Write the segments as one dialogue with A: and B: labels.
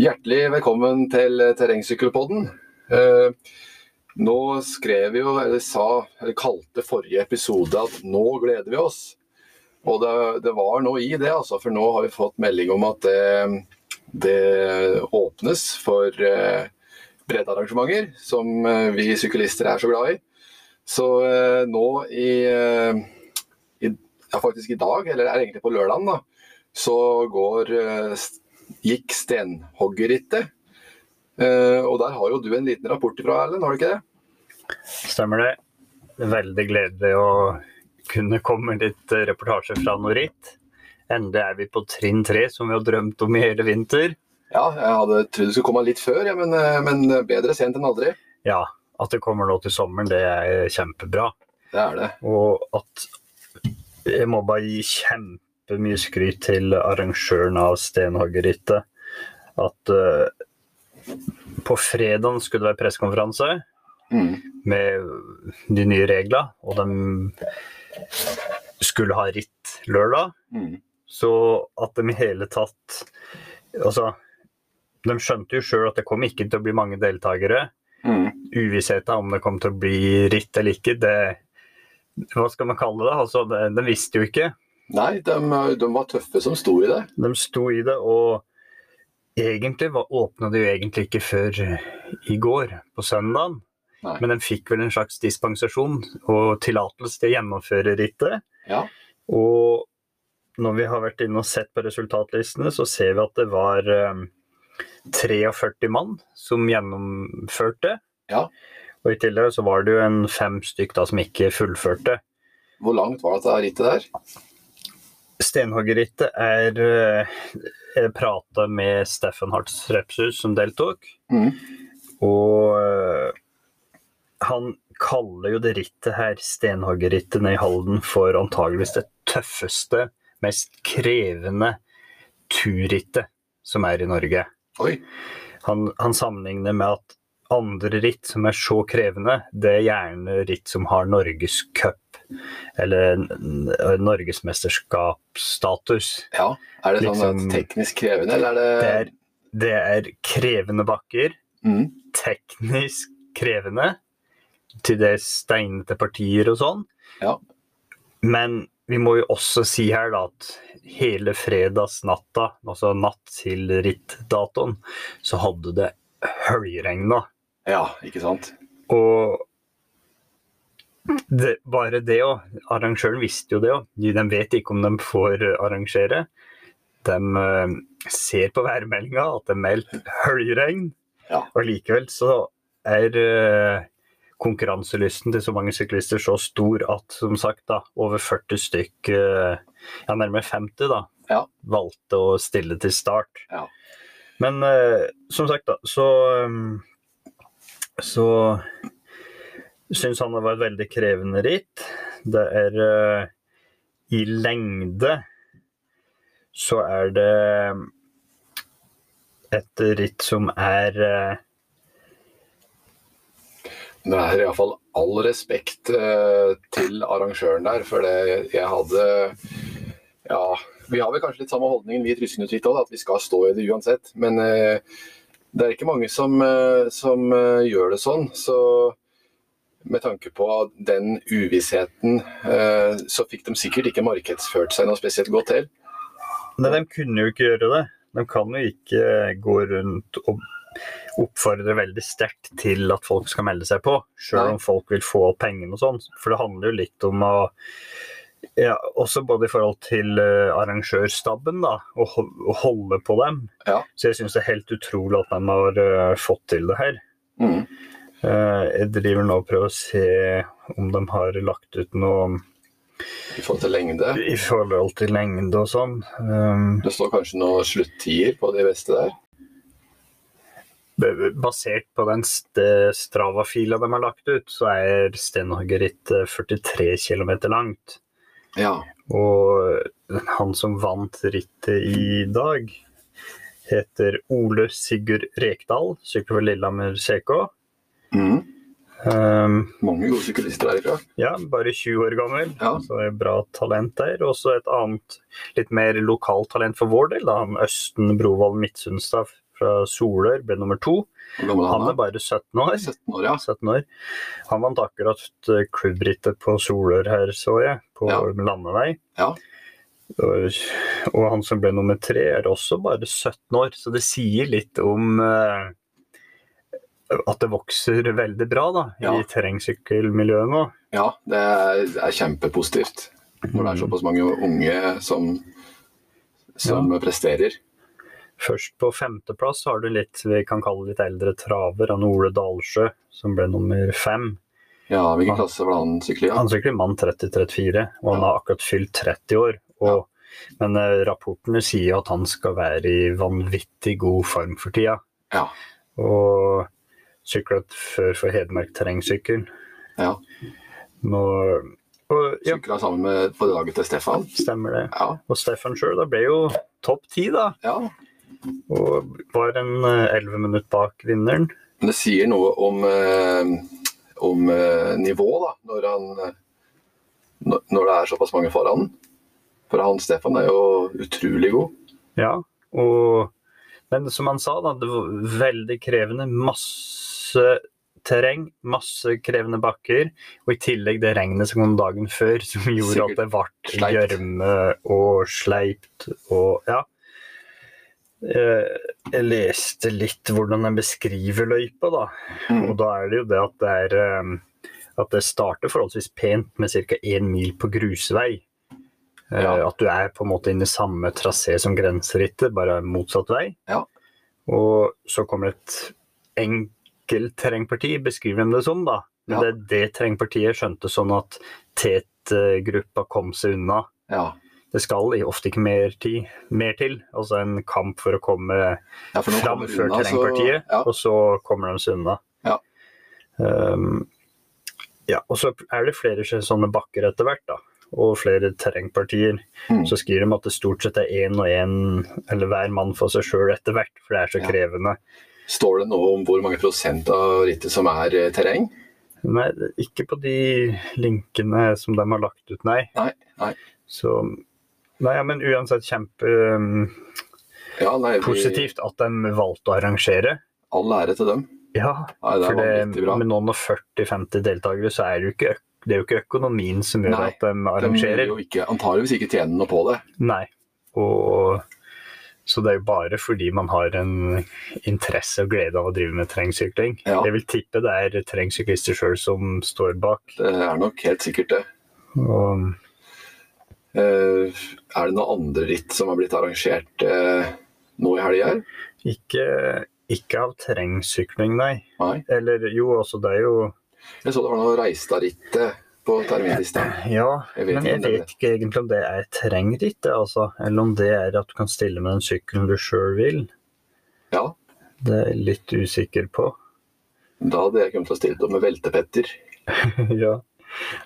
A: Hjertelig velkommen til Terrengsykkelpodden. Eh, Nå skrev vi jo, eller sa, eller kalte forrige episode at nå gleder vi oss. Og det, det var noe i det, altså, for nå har vi fått melding om at det, det åpnes for eh, breddearrangementer, som eh, vi syklister er så glad i. Så eh, nå i, eh, i ja, faktisk i dag, eller det er egentlig på lørdagen, da, så går eh, st- gikk stenhoggerrittet. Eh, og der har jo du en liten rapport ifra, Erlend, har du ikke det?
B: Stemmer det. Veldig gledelig å kunne komme med litt eh, reportasje fra noe ritt. Endelig er vi på trinn tre, som vi har drømt om i hele vinter.
A: Ja, jeg hadde trodd du skulle komme litt før, ja, men, eh, men bedre sent enn aldri.
B: Ja, at det kommer nå til sommeren, det er kjempebra.
A: Det er det.
B: Og at jeg må bare gi kjempemye skryt til arrangøren av Stenhoggerrittet. At eh, på fredagen skulle det være pressekonferanse.
A: Mm.
B: med de nye reglene, og de skulle ha ritt lørdag,
A: Mm.
B: så at de i hele tatt Altså, de skjønte jo sjøl at det kom ikke til å bli mange deltakere.
A: Mm.
B: Uvissheten om det kom til å bli ritt eller ikke, det Hva skal man kalle det? Altså, det, de visste jo ikke.
A: Nei, de, de var tøffe som sto i det.
B: De sto i det, og egentlig var- åpna det jo egentlig ikke før i går, på søndagen.
A: Nei.
B: Men de fikk vel en slags dispensasjon og tillatelse til å gjennomføre rittet.
A: Ja.
B: Og når vi har vært inne og sett på resultatlistene, så ser vi at det var eh, 43 mann som gjennomførte.
A: Ja.
B: Og i tillegg så var det jo en fem stykk da som ikke fullførte.
A: Hvor langt var dette rittet der?
B: Stenhoggerrittet er eh, Jeg prata med Steffen Hartz Repshus, som deltok.
A: Mm.
B: Og eh, han kaller jo det rittet her, stenhoggerrittet ned i Halden, for antageligvis det tøffeste, mest krevende turrittet som er i Norge.
A: Oi.
B: Han, han sammenligner med at andre ritt som er så krevende, det er gjerne ritt som har norgescup eller n- n- norgesmesterskapsstatus.
A: Ja. Er det sånn
B: Liksom-
A: at teknisk krevende, eller
B: Det
A: er
B: er,
A: det
B: det er krevende bakker,
A: mm.
B: teknisk krevende, til dels steinete partier og sånn.
A: Ja.
B: Men vi må jo også si her da at hele fredagsnatta, altså natt til rittdatoen, så hadde det høljregna.
A: Ja, ikke sant?
B: Og det, bare det òg. Arrangøren visste jo det òg. De vet ikke om de får arrangere. De eh, ser på værmeldinga at det er meldt høljregn,
A: Ja.
B: og likevel så er eh, konkurranselysten til så mange syklister så stor at som sagt da, over 40 stykk, eh, ja nærmere 50 da,
A: Ja.
B: valgte å stille til start.
A: Ja.
B: Men eh, som sagt da, så, um, så syns han det var et veldig krevende ritt. Det er eh, i lengde så er det eh, et ritt som er eh,
A: Det er iallfall all respekt eh, til arrangøren der, for det jeg hadde Ja, vi har vel kanskje litt samme holdningen vi i Trysknutvitt òg, at vi skal stå i det uansett. Men eh, det er ikke mange som, eh, som eh, gjør det sånn. Så med tanke på den uvissheten, eh, så fikk de sikkert ikke markedsført seg noe spesielt godt til.
B: Nei, de kunne jo ikke gjøre det. De kan jo ikke eh, gå rundt og oppfordre veldig sterkt til at folk skal melde seg på,
A: Nei.
B: sjøl om folk vil få pengene og sånn. For det handler jo litt om å ja, Også både i forhold til eh, arrangørstaben, da, å hol- å holde på dem.
A: Ja.
B: Så jeg syns det er helt utrolig at de har eh, fått til det her.
A: Mm.
B: Eh, jeg driver nå og prøver å se om de har lagt ut noe
A: I forhold til lengde.
B: i forhold til lengde og sånn. Um,
A: Det står kanskje noen sluttider på de beste der.
B: Basert på den st- Strava-fila de har lagt ut, så er Stenhagerit 43 km langt.
A: Ja.
B: Og han som vant rittet i dag, heter Ole Sigurd Rekdal, sykler for Lillehammer CK.
A: Mm.
B: Um,
A: Mange gode syklister derifra.
B: ja, bare 20 år gammel,
A: Ja.
B: så det er bra talent der. Og så et annet, litt mer lokalt talent for vår del, da, han Østen Brovold Midtsundstad fra Solør, ble nummer to.
A: Hvor gammel er
B: Han
A: han?
B: er bare 17 år.
A: da? 17 år, ja.
B: 17 år. Han vant akkurat eh, klubbrittet på Solør her, så jeg, på
A: Ja.
B: landevei.
A: Ja.
B: Og, og han som ble nummer tre, er også bare 17 år, så det sier litt om eh, at det vokser veldig bra da,
A: Ja.
B: i terrengsykkelmiljøet nå.
A: ja det er, det er kjempepositivt når det er såpass mange unge som, som presterer.
B: Først på femteplass har du litt vi kan kalle litt eldre traver, han Ole Dalsjø, som ble nummer fem.
A: Ja,
B: Ja.
A: Hvilken klasse var det han syklet i? da?
B: Han sykler mann 30-34, og han
A: Ja.
B: har akkurat fylt 30 år. Og, Men eh, rapportene sier jo at han skal være i vanvittig god form for tida.
A: Ja.
B: Og sykla før for Hedmark terrengsykkel.
A: ja.
B: Nå, og ja,
A: Sykla sammen med på laget til Stefan.
B: stemmer det.
A: Ja,
B: Og Stefan sjøl ble jo topp ti, da.
A: ja.
B: Og var en eh, elleve minutt bak vinneren.
A: Men det sier noe om, eh, om eh, nivå, da, når, han, når når det er såpass mange foran. For han Stefan er jo utrolig god.
B: Ja, og, men som han sa, da, det var veldig krevende. Masse terreng, masse krevende bakker, og i tillegg det regnet som kom dagen før, som gjorde
A: Sikkert
B: at det ble
A: sleipt.
B: gjørme og sleipt og ja. Eh, Jeg leste litt hvordan den beskriver løypa, da.
A: Mm.
B: Og da er det jo det at det er eh, at det starter forholdsvis pent med ca. én mil på grusvei. Eh,
A: Ja.
B: At du er på en måte inne i samme trasé som grenserittet, bare motsatt vei.
A: Ja.
B: Og så kommer et enkelt terrengparti, beskriver de det som, da. Men
A: Ja.
B: det er det terrengpartiet skjønte sånn at Tet-gruppa kom seg unna.
A: Ja.
B: Det skal i- ofte ikke mer, tid, mer til, altså en kamp for å komme
A: ja for når han
B: fram
A: kommer
B: før
A: unna, så-
B: terrengpartiet,
A: Ja.
B: og så kommer de seg unna.
A: Ja.
B: Ehm, ja, og så er det flere sånne bakker etter hvert, da. Og flere terrengpartier.
A: Mm.
B: Så skriver de at det stort sett er én og én, eller hver mann for seg sjøl etter hvert, for det er så
A: Ja.
B: krevende.
A: Står det noe om hvor mange prosent av rittet som er eh, terreng?
B: Nei, ikke på de linkene som de har lagt ut, nei.
A: Nei, nei.
B: Så Nei, ja, men uansett kjempepositivt
A: Ja, nei, vi-
B: at de valgte å arrangere.
A: All ære til dem.
B: Ja,
A: Nei, det er
B: For det,
A: vanvittig bra.
B: med noen og 40-50 deltakere, så er det jo ikke, øk- det er jo ikke økonomien som gjør
A: Nei,
B: at de
A: De vil
B: arrangerer.
A: jo ikke, antageligvis ikke tjene noe på det.
B: Nei. Og, så det er jo bare fordi man har en interesse og glede av å drive med terrengsykling.
A: Ja.
B: Jeg vil tippe det er terrengsyklister sjøl som står bak.
A: Det er nok helt sikkert det.
B: Og,
A: Eh, er det noen andre ritt som har blitt arrangert eh, nå i helga her?
B: ikke, ikke av terrengsykling, nei.
A: Nei.
B: Eller jo, altså det er jo
A: Jeg så det var noe Reistad-rittet på terminlista.
B: Ja,
A: Jeg vet
B: men
A: ikke
B: jeg
A: om det er
B: vet ikke egentlig om det er terrengritt, det, altså. Eller om det er at du kan stille med den sykkelen du sjøl vil.
A: Ja,
B: Det er jeg litt usikker på.
A: da hadde jeg kommet til å stille opp med veltepetter.
B: ja.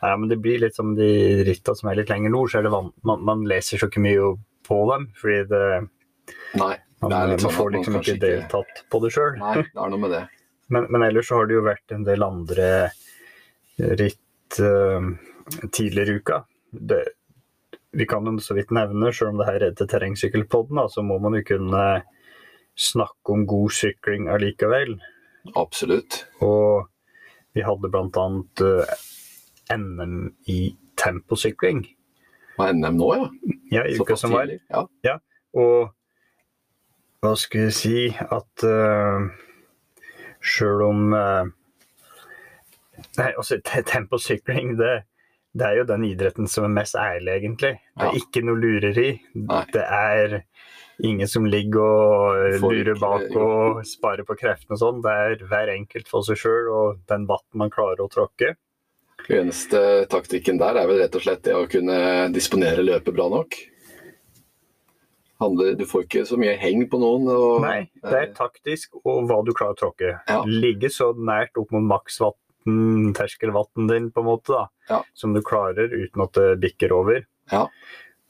B: Nei, men det blir litt som de ritta som er litt lenger nord, så er det van man, man leser så ikke mye på dem. Fordi det,
A: Nei,
B: man,
A: det er litt
B: man
A: sånn
B: får
A: at man
B: liksom
A: kanskje
B: ikke
A: ikke
B: deltatt på det sjøl.
A: Nei, det er noe med det.
B: Men, men ellers så har det jo vært en del andre ritt eh, tidligere i uka. Det, vi kan jo så vidt nevne, sjøl om det her er til terrengsykkelpodden, da, så må man jo kunne snakke om god sykling allikevel.
A: Absolutt.
B: Og vi hadde bl.a. NM i temposykling
A: Og NM nå, ja.
B: ja, i uka
A: Såpass
B: som var.
A: tidlig. Ja.
B: Og hva skulle jeg si At uh, sjøl om eh, Nei, altså, te- temposykling, det, det er jo den idretten som er mest ærlig, egentlig. Det er
A: Ja.
B: ikke noe lureri.
A: Nei.
B: Det er ingen som ligger og eh,
A: Får
B: lurer
A: ikke-
B: bak og sparer på kreftene og sånn. Det er hver enkelt for seg sjøl og den vatten man klarer å tråkke.
A: Eneste taktikken der er vel rett og slett det å kunne disponere løpet bra nok. Handler, du får ikke så mye heng på noen. Og,
B: Nei, det er taktisk og hva du klarer å tråkke.
A: Ja.
B: Ligge så nært opp mot maksvatten, terskelvatten din, på en måte, da,
A: Ja.
B: som du klarer uten at det bikker over.
A: Ja.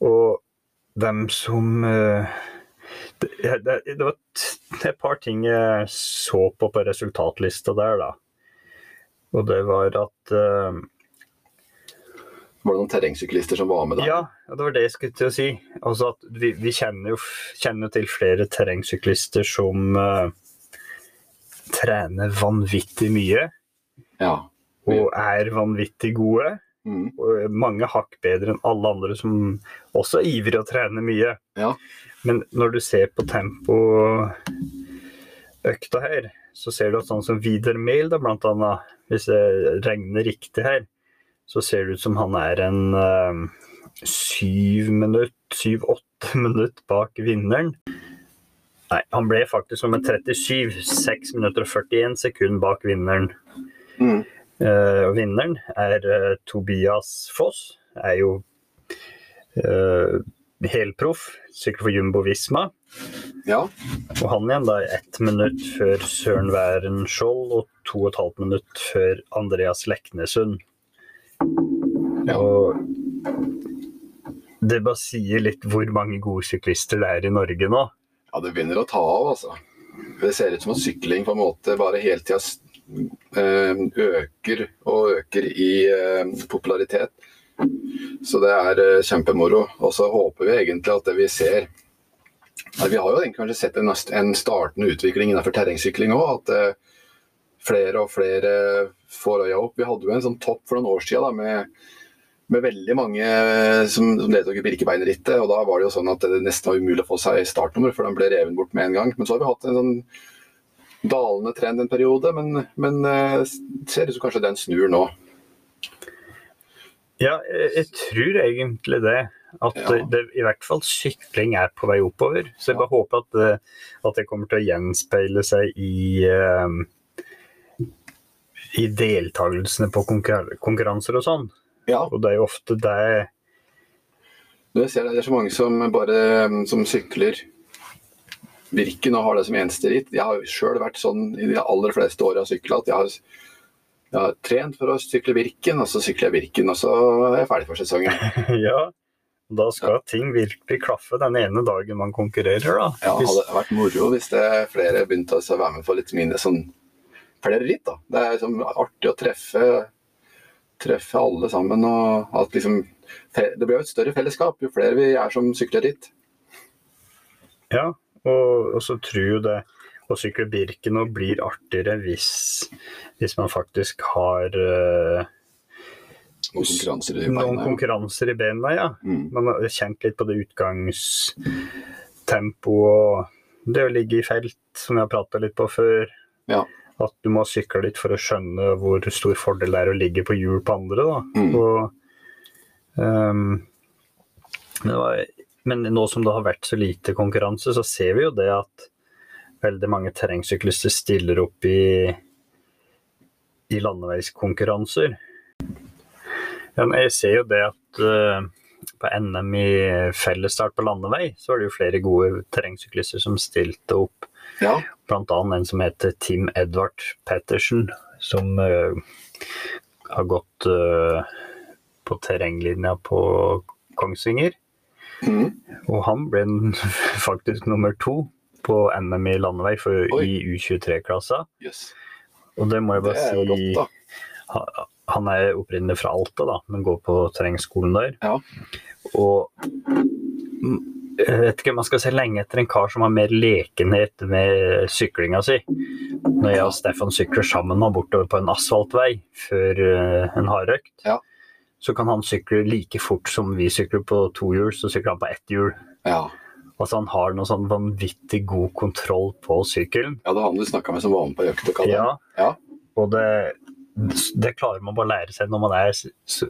B: Og dem som eh, det, det, det var t- et par ting jeg så på på resultatlista der, da. Og det var at eh,
A: Var det noen terrengsyklister som var med der?
B: Ja, og det var det jeg skulle til å si. Altså at vi, vi kjenner jo f- kjenner jo til flere terrengsyklister som eh, trener vanvittig mye
A: Ja.
B: og er vanvittig gode.
A: Mm.
B: Og mange hakk bedre enn alle andre som også er ivrige og trener mye.
A: Ja.
B: Men når du ser på tempoøkta her, så ser du at sånn som Vidar Mehl, da, blant annet, hvis jeg regner riktig her, så ser det ut som han er en eh, syv minutt, syv-åtte minutt bak vinneren. Nei, han ble faktisk nummer 37, 6 minutter og 41 sekunder bak vinneren.
A: Mm.
B: Eh, og vinneren er eh, Tobias Foss. Er jo eh, helproff, sykler for Jumbo Visma.
A: ja.
B: Og han igjen da er ett minutt før Søren Væren Skjold og to og et halvt minutt før Andreas Leknesund.
A: Ja.
B: Og det bare sier litt hvor mange gode syklister det er i Norge nå.
A: Ja, det begynner å ta av, altså. Det ser ut som at sykling på en måte bare hele tida s- eh, øker og øker i eh, popularitet. Så det er eh, kjempemoro. Og så håper vi egentlig at det vi ser Nei, Vi har jo egentlig kanskje sett en, en startende utvikling innenfor terrengsykling òg. At eh, flere og flere får øya opp. Vi hadde jo en sånn topp for noen år siden da, med med veldig mange eh, som, som deltok i Birkebeinerrittet. Og da var det jo sånn at det nesten var umulig å få seg startnummer, for den ble reven bort med en gang. Men så har vi hatt en sånn dalende trend en periode, men, men eh, ser ut som kanskje den snur nå.
B: Ja, jeg, jeg tror egentlig det. At
A: Ja.
B: det, i hvert fall sykling er på vei oppover. Så jeg bare håper at det, at det kommer til å gjenspeile seg i eh, i deltakelsene på konkurran- konkurranser og sånn.
A: Ja,
B: Og det er jo ofte det
A: du ser det, det er så mange som bare mm, som sykler Birken og har det som eneste ritt. Jeg har sjøl vært sånn i de aller fleste år jeg har sykla, at jeg har, jeg har trent for å sykle Birken, og så sykler jeg Birken, og så er jeg ferdig for sesongen.
B: Ja. Da skal ting virkelig klaffe den ene dagen man konkurrerer, da.
A: Ja, det
B: Hvis-
A: hadde vært moro hvis det flere begynte å være med på litt mindre sånn flere ritt. da. Det er liksom artig å treffe, treffe alle sammen. og at liksom, fe- Det blir jo et større fellesskap jo flere vi er som sykler ritt.
B: Ja, og, og så tror jo det å sykle Birken nå blir artigere hvis, hvis man faktisk har eh,
A: Noen konkurranser i
B: noen
A: beina.
B: konkurranser i bena, ja.
A: Mm.
B: Man har kjent litt på det utgangstempoet og det å ligge i felt, som jeg har prata litt på før.
A: Ja.
B: At du må sykle litt for å skjønne hvor stor fordel det er å ligge på hjul på andre. da.
A: Mm.
B: Og, ehm, men, det var, men nå som det har vært så lite konkurranse, så ser vi jo det at veldig mange terrengsyklister stiller opp i, i landeveiskonkurranser. Ja, men jeg ser jo det at eh, på NM i fellesstart på landevei, så var det jo flere gode terrengsyklister som stilte opp
A: Ja.
B: blant annet en som heter Tim Edvard Pettersen, som eh, har gått eh, på terrenglinja på Kongsvinger.
A: Mm.
B: Og han ble n- faktisk nummer to på NM i landevei for,
A: Oi.
B: i U23-klassa.
A: Yes.
B: Og det må jeg
A: Det
B: bare
A: er jo godt,
B: si
A: da.
B: ha- Han er opprinnelig fra Alta, da, men går på terrengskolen der.
A: Ja.
B: Og mm, jeg vet ikke, man skal se lenge etter en kar som har mer lekenhet med syklinga si. Når jeg og Stefan sykler sammen nå bortover på en asfaltvei før eh, en hardøkt,
A: Ja.
B: så kan han sykle like fort som vi sykler på to hjul, så sykler han på ett hjul.
A: Ja.
B: Altså han har noe sånn vanvittig god kontroll på sykkelen.
A: ja, det var han du snakka med som var med på økt og kalle.
B: Ja.
A: Ja.
B: Og det, det klarer man bare å lære seg når man er s- s-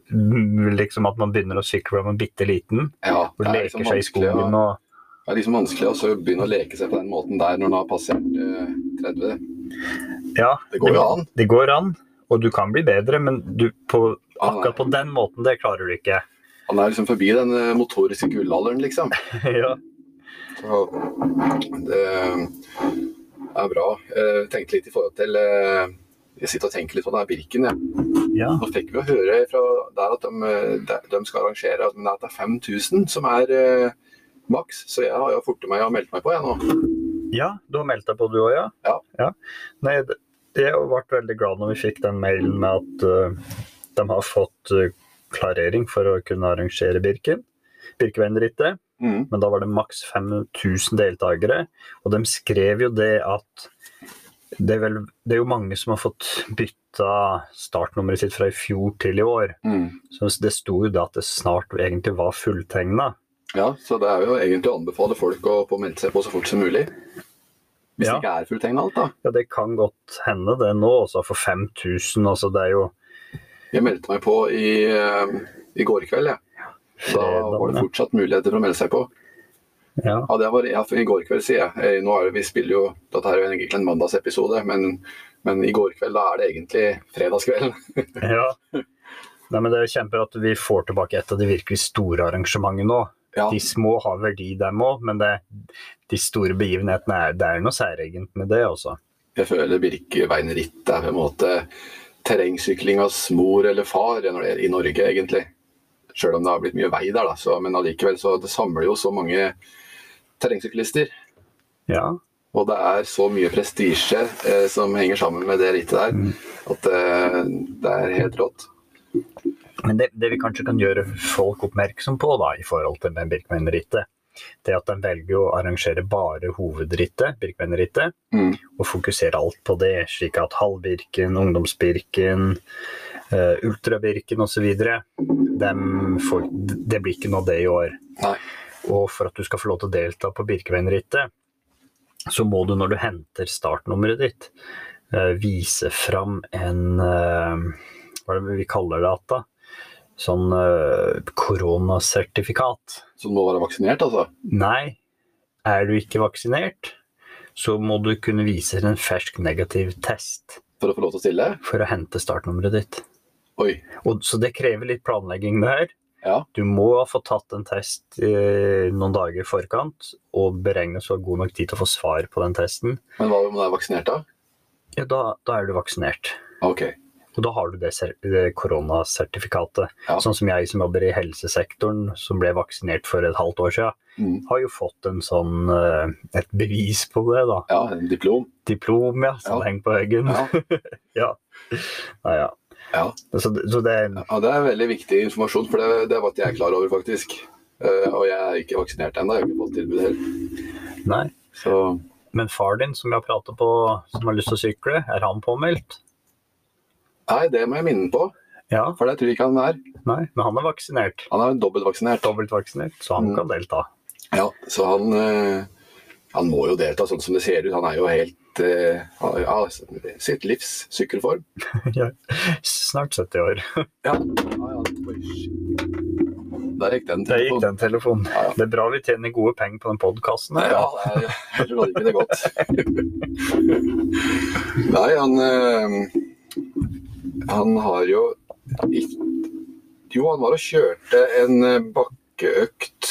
B: liksom at man begynner å sykle fra man er bitte liten.
A: Ja,
B: Og
A: det er
B: leker
A: liksom
B: seg i
A: vanskelig å-
B: skogen og
A: Det er liksom vanskelig å så begynne å leke seg på den måten der når en har passert eh, 30.
B: Ja,
A: Det går jo an.
B: det går an. Og du kan bli bedre, men du, på,
A: Han
B: akkurat
A: er,
B: på den måten, det klarer du ikke.
A: han er liksom forbi den eh, motoriske gullalderen, liksom.
B: ja.
A: Så det eh, er bra. Jeg tenkte litt i forhold til eh, Jeg sitter og tenker litt på den her Birken. jeg.
B: ja.
A: Nå fikk vi jo høre fra der at de, eh, de, de skal arrangere at det er 5000 som er eh, maks, så jeg har jo fortet meg og meldt meg på, jeg nå.
B: Ja, du har meldt deg på du òg, ja?
A: Ja.
B: Nei, det- jeg ble veldig glad når vi fikk den mailen med at eh, de har fått eh, klarering for å kunne arrangere Birken. Birkeveinrittet.
A: Mm.
B: Men da var det maks 5000 deltakere. Og de skrev jo det at det er, vel, det er jo mange som har fått bytta startnummeret sitt fra i fjor til i år.
A: Mm.
B: Så det sto jo da at det snart egentlig var fulltegna.
A: Ja, så det er jo egentlig å anbefale folk å få meldt seg på så fort som mulig. Hvis
B: Ja.
A: det ikke er fulltegna alt, da.
B: Ja, det kan godt hende det nå, altså for 5000. Altså det er jo
A: Jeg meldte meg på i, eh, i går kveld, jeg. Da var det
B: fredag.
A: fortsatt muligheter for å melde seg på.
B: Ja.
A: Ja, det var ja, for I går kveld, sier jeg. Eh, Nå er det, vi spiller jo, Dette er jo egentlig en mandagsepisode, men, men i går kveld da er det egentlig fredagskvelden.
B: ja. Nei, men det er kjemper at vi får tilbake et av de virkelig store arrangementene nå.
A: Ja,
B: De små har verdi, dem òg, men det, de store begivenhetene er, det er noe særegent med det, altså.
A: Jeg føler Birkeveinritt er på en måte terrengsyklingas mor eller far når det er i Norge, egentlig. Sjøl om det har blitt mye vei der, da. Så, men allikevel, så det samler jo så mange terrengsyklister.
B: Ja.
A: Og det er så mye prestisje eh, som henger sammen med det rittet der, at eh, det er helt rått.
B: Men det, det vi kanskje kan gjøre folk oppmerksom på da, i forhold til med Birkmeinerrittet, det er at de velger å arrangere bare hovedrittet, Birkmeinerrittet,
A: Mm.
B: og fokusere alt på det, slik at halvbirken, ungdomsbirken, eh, ultrabirken osv. Det blir ikke noe av det i år.
A: Nei.
B: Og for at du skal få lov til å delta på Birkeveinrittet, så må du når du henter startnummeret ditt, eh, vise fram en eh, Hva er det vi kaller det igjen, da? Sånn eh, koronasertifikat.
A: Så du må være vaksinert, altså.
B: Nei, er du ikke vaksinert, så må du kunne vise en fersk negativ test
A: For å få lov til å stille?
B: for å hente startnummeret ditt.
A: Oi.
B: Og, så det krever litt planlegging, det her.
A: Ja.
B: Du må ha fått tatt en test eh, noen dager i forkant, og beregne så god nok tid til å få svar på den testen.
A: Men hva om du er vaksinert, da?
B: Ja, da, da er du vaksinert.
A: OK.
B: Og da har du det, ser- det koronasertifikatet.
A: Ja.
B: Sånn som jeg som jobber i helsesektoren, som ble vaksinert for et halvt år siden,
A: Mm.
B: har jo fått en sånn, eh, et bevis på det. da.
A: Ja, en diplom.
B: Diplom, ja, som
A: Ja.
B: henger på veggen.
A: Ja.
B: Ja, ja.
A: Ja.
B: Så, det- så det er
A: Ja, Det er veldig viktig informasjon, for det, det var ikke jeg klar over, faktisk. Eh, og jeg er ikke vaksinert ennå, jeg har ikke fått tilbud heller.
B: Nei.
A: Så
B: Men far din, som jeg har pratet på, som har lyst til å sykle, er han påmeldt?
A: nei, det må jeg minne på,
B: Ja,
A: for det tror jeg ikke han er.
B: nei, men han er vaksinert.
A: Han er dobbeltvaksinert.
B: Dobbelt vaksinert, så han
A: Mm.
B: kan delta.
A: Ja, så han, eh, han må jo delta sånn som det ser ut. Han er jo helt eh, han- ja, sitt livs sykkelform.
B: Ja. Snart 70 år.
A: Ja. ja, ja. Oi, shit. Der gikk den.
B: Der gikk
A: telefonen.
B: den telefonen.
A: Ja, ja.
B: Det er bra vi tjener gode penger på den podkasten.
A: Nei, ja, det er- jeg tror ikke det er godt. Nei, han eh, Han har jo ikke Jo, han var og kjørte en eh, bakkeøkt.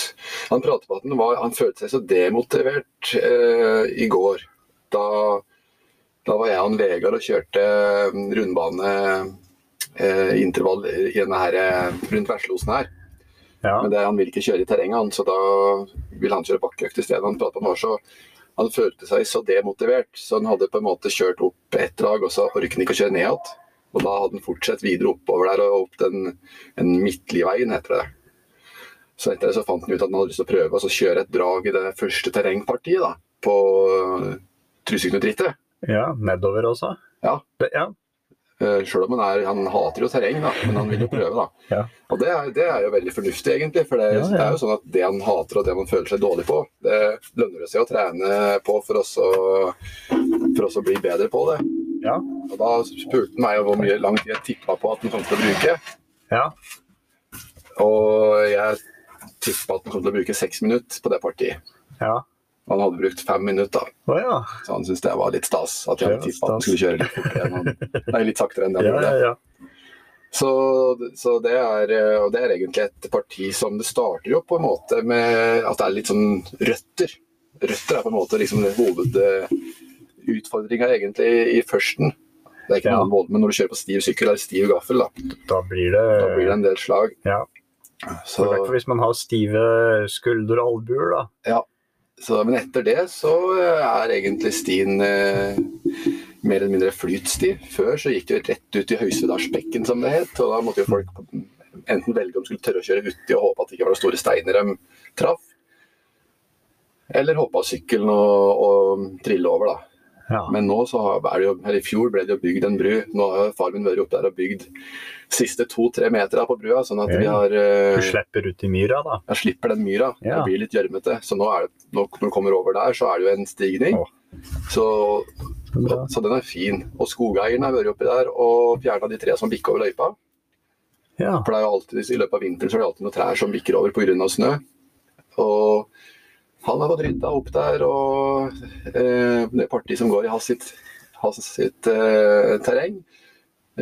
A: Han pratet på at han, var, han følte seg så demotivert eh, i går. Da, da var jeg og han Vegard og kjørte eh, rundbane eh, intervall i denne her, eh, rundt Vesleosen her.
B: Ja.
A: Men det, han vil ikke kjøre i terrenget, han, så da vil han kjøre bakkeøkt i stedet. Han pratet om det var så han følte seg så demotivert, så han hadde på en måte kjørt opp ett drag, og så orket han ikke å kjøre ned igjen. Og da hadde han fortsatt videre oppover der og opp den, den midtligveien, heter det. Så etter det så fant han ut at han hadde lyst til å prøve å så kjøre et drag i det første terrengpartiet da, på øh, Truseknutrittet.
B: Ja, nedover også.
A: Ja.
B: Det, ja.
A: Eh, Selv om han, er, han hater jo terreng, da, men han vil jo prøve. da.
B: Ja.
A: Og det er, det er jo veldig fornuftig, egentlig. For det,
B: Ja, ja.
A: det er jo sånn at det han hater og det man føler seg dårlig på, det lønner det seg å trene på for oss å, for oss å bli bedre på det.
B: Ja.
A: Og da spurte han meg jo hvor mye lang tid jeg tippa på at han kom til å bruke.
B: ja.
A: Og jeg tippa at han kom til å bruke seks minutter på det partiet.
B: ja.
A: Og han hadde brukt fem minutter, da.
B: Å ja.
A: så han syntes det var litt stas at jeg hadde
B: Ja,
A: tippa at han
B: stas.
A: skulle kjøre litt fortere enn han Nei, litt saktere enn det
B: Ja,
A: han gjorde.
B: ja, ja.
A: Så, så det, er, eh, og det er egentlig et parti som det starter jo på en måte med at det er litt sånn røtter. Røtter er på en måte liksom hovedutfordringa egentlig i førsten. Det er ikke
B: Ja.
A: noe annet måte, men når du kjører på stiv sykkel eller stiv gaffel, da,
B: Da blir det,
A: da blir det en del slag.
B: Ja.
A: Så,
B: I hvert fall hvis man har stive skuldre og albuer, da.
A: så, men etter det så eh, er egentlig stien eh, mer eller mindre flytsti. Før så gikk det jo rett ut i Høysvedalsbekken, som det het. Og da måtte jo folk enten velge om de skulle tørre å kjøre uti og håpe at det ikke var noen store steiner de traff, eller hoppe av sykkelen og, og trille over, da.
B: Ja.
A: Men nå så har- er det jo, eller i fjor ble det jo bygd en bru. Nå har far min vært oppe der og bygd siste to-tre metera på brua, sånn at vi
B: Ja.
A: har
B: Du
A: eh,
B: slipper ut i myra, da.
A: jeg slipper den myra.
B: Ja.
A: Det blir litt gjørmete. Så nå er det, nå, når du kommer over der, så er det jo en stigning.
B: Å.
A: Så, så,
B: Bra.
A: så den er fin. Og skogeieren har vært oppi der og fjerna de tre som bikker over løypa.
B: Ja.
A: For det er jo alltid, I løpet av vinteren så er det alltid noen trær som bikker over pga. snø. Og han har fått rydda opp der, og eh, det partiet som går i hans sitt, hans sitt eh, terreng,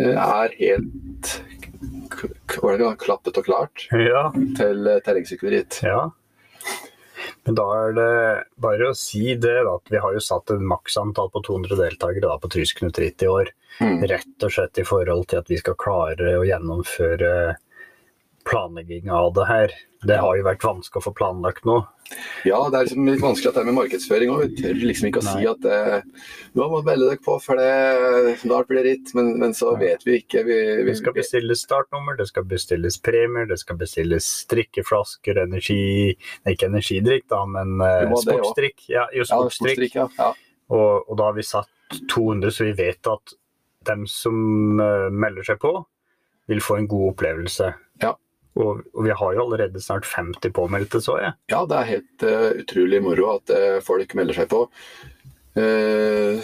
A: eh, er helt k k hva er det, vi har? klappet og klart
B: ja.
A: til eh, terrengsykkelritt.
B: Ja. Men da er det bare å si det, da, at vi har jo satt et maksantall på 200 deltakere da, på Tysknut ritt i år.
A: Mm.
B: Rett og slett i forhold til at vi skal klare å gjennomføre planlegging av det her. Det har jo vært vanskelig å få planlagt nå.
A: Ja, det er liksom litt vanskelig at det er med markedsføring òg. Vi tør liksom ikke å si
B: Nei.
A: at eh, nå må du melde dere på, for det snart blir det ritt. Men, men så
B: Nei.
A: vet vi ikke. Vi, vi,
B: Det skal bestilles startnummer, det skal bestilles premier, det skal bestilles drikkeflasker, energi Nei, ikke energidrikk, da, men eh,
A: Jo, det er jo.
B: sportsdrikk. Ja, jo,
A: ja,
B: sportsdrikk.
A: sportsdrikk, ja. ja.
B: Og, og da har vi satt 200, så vi vet at dem som eh, melder seg på, vil få en god opplevelse.
A: Ja.
B: Og, og vi har jo allerede snart 50 påmeldte, så jeg.
A: Ja, det er helt eh, utrolig moro at eh, folk melder seg på. Eh,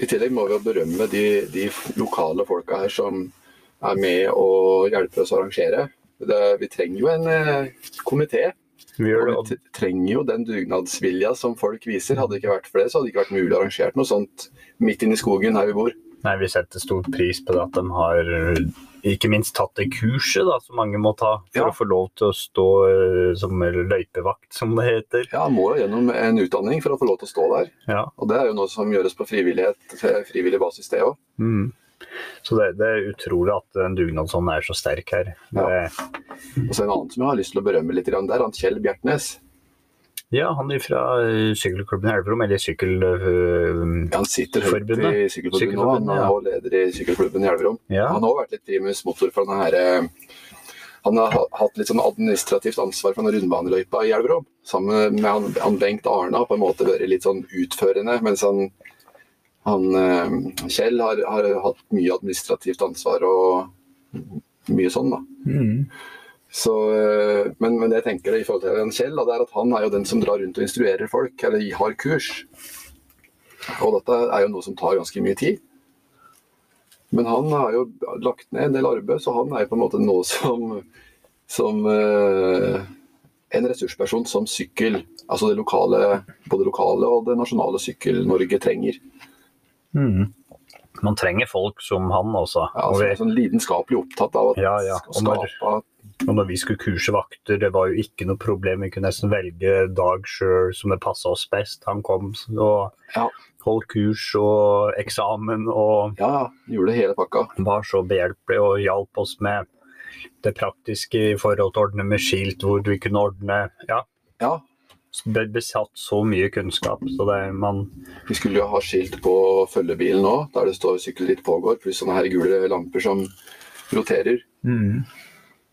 A: I tillegg må vi jo berømme de, de lokale folka her som er med og hjelper oss å arrangere. Det, vi trenger jo en eh, komité,
B: Vi gjør det,
A: og
B: og
A: vi t- trenger jo den dugnadsvilja som folk viser. Hadde det ikke vært for det, så hadde det ikke vært mulig å arrangere noe sånt midt inne i skogen her vi bor.
B: nei, vi setter stor pris på det at de har eh, ikke minst tatt det kurset da, som mange må ta for
A: Ja.
B: å få lov til å stå eh, som løypevakt, som det heter.
A: Ja, må jo gjennom en utdanning for å få lov til å stå der.
B: Ja.
A: Og det er jo noe som gjøres på frivillighet, frivillig basis, det òg.
B: Mm. Så det, det er utrolig at den dugnadsånden er så sterk her.
A: Ja.
B: Det,
A: Og så en annen som jeg har lyst til å berømme litt, grann, det er han Kjell Bjertnæs.
B: ja, han er fra eh, sykkelklubben i Elverum, eller sykkel... eh,
A: Ja, Han sitter høyt
B: Forbundet.
A: i sykkelforbundet nå. Han
B: Sykkelforbundet,
A: er
B: ja.
A: også leder i sykkelklubben i Elverum.
B: Ja.
A: Han har også vært litt primus motor for denne her eh, Han har ha- hatt litt sånn administrativt ansvar for denne rundbaneløypa i Elverum. Sammen med han, han Bengt Arna har på en måte vært litt sånn utførende, mens han, han eh, Kjell har, har hatt mye administrativt ansvar og mye sånn, da. Så, eh, men, men det jeg tenker i forhold til en Kjell, da, det er at han er jo den som drar rundt og instruerer folk, eller har kurs. Og dette er jo noe som tar ganske mye tid. Men han har jo lagt ned en del arbeid, så han er jo på en måte nå som, som eh, en ressursperson som sykkel, altså det lokale, både lokale og det nasjonale sykkel-Norge trenger.
B: Mm. Man trenger folk som han, altså.
A: Ja,
B: og,
A: altså,
B: vi,
A: sånn lidenskapelig opptatt av at,
B: Ja, ja.
A: å
B: Og når-
A: skape
B: og når vi skulle kurse vakter, det var jo ikke noe problem. Vi kunne nesten velge dag sjøl som det passa oss best. Han kom s- og
A: Ja.
B: holdt kurs og eksamen og
A: Ja, ja, gjorde hele pakka.
B: var så behjelpelig og hjalp oss med det praktiske i forhold til å ordne med skilt, hvor vi kunne ordne Ja,
A: Ja,
B: ble besatt så mye kunnskap, så det man
A: Vi skulle jo ha skilt på følgebilen òg, der det står 'sykkelritt pågår', pluss sånne her gule lamper som roterer.
B: Mm.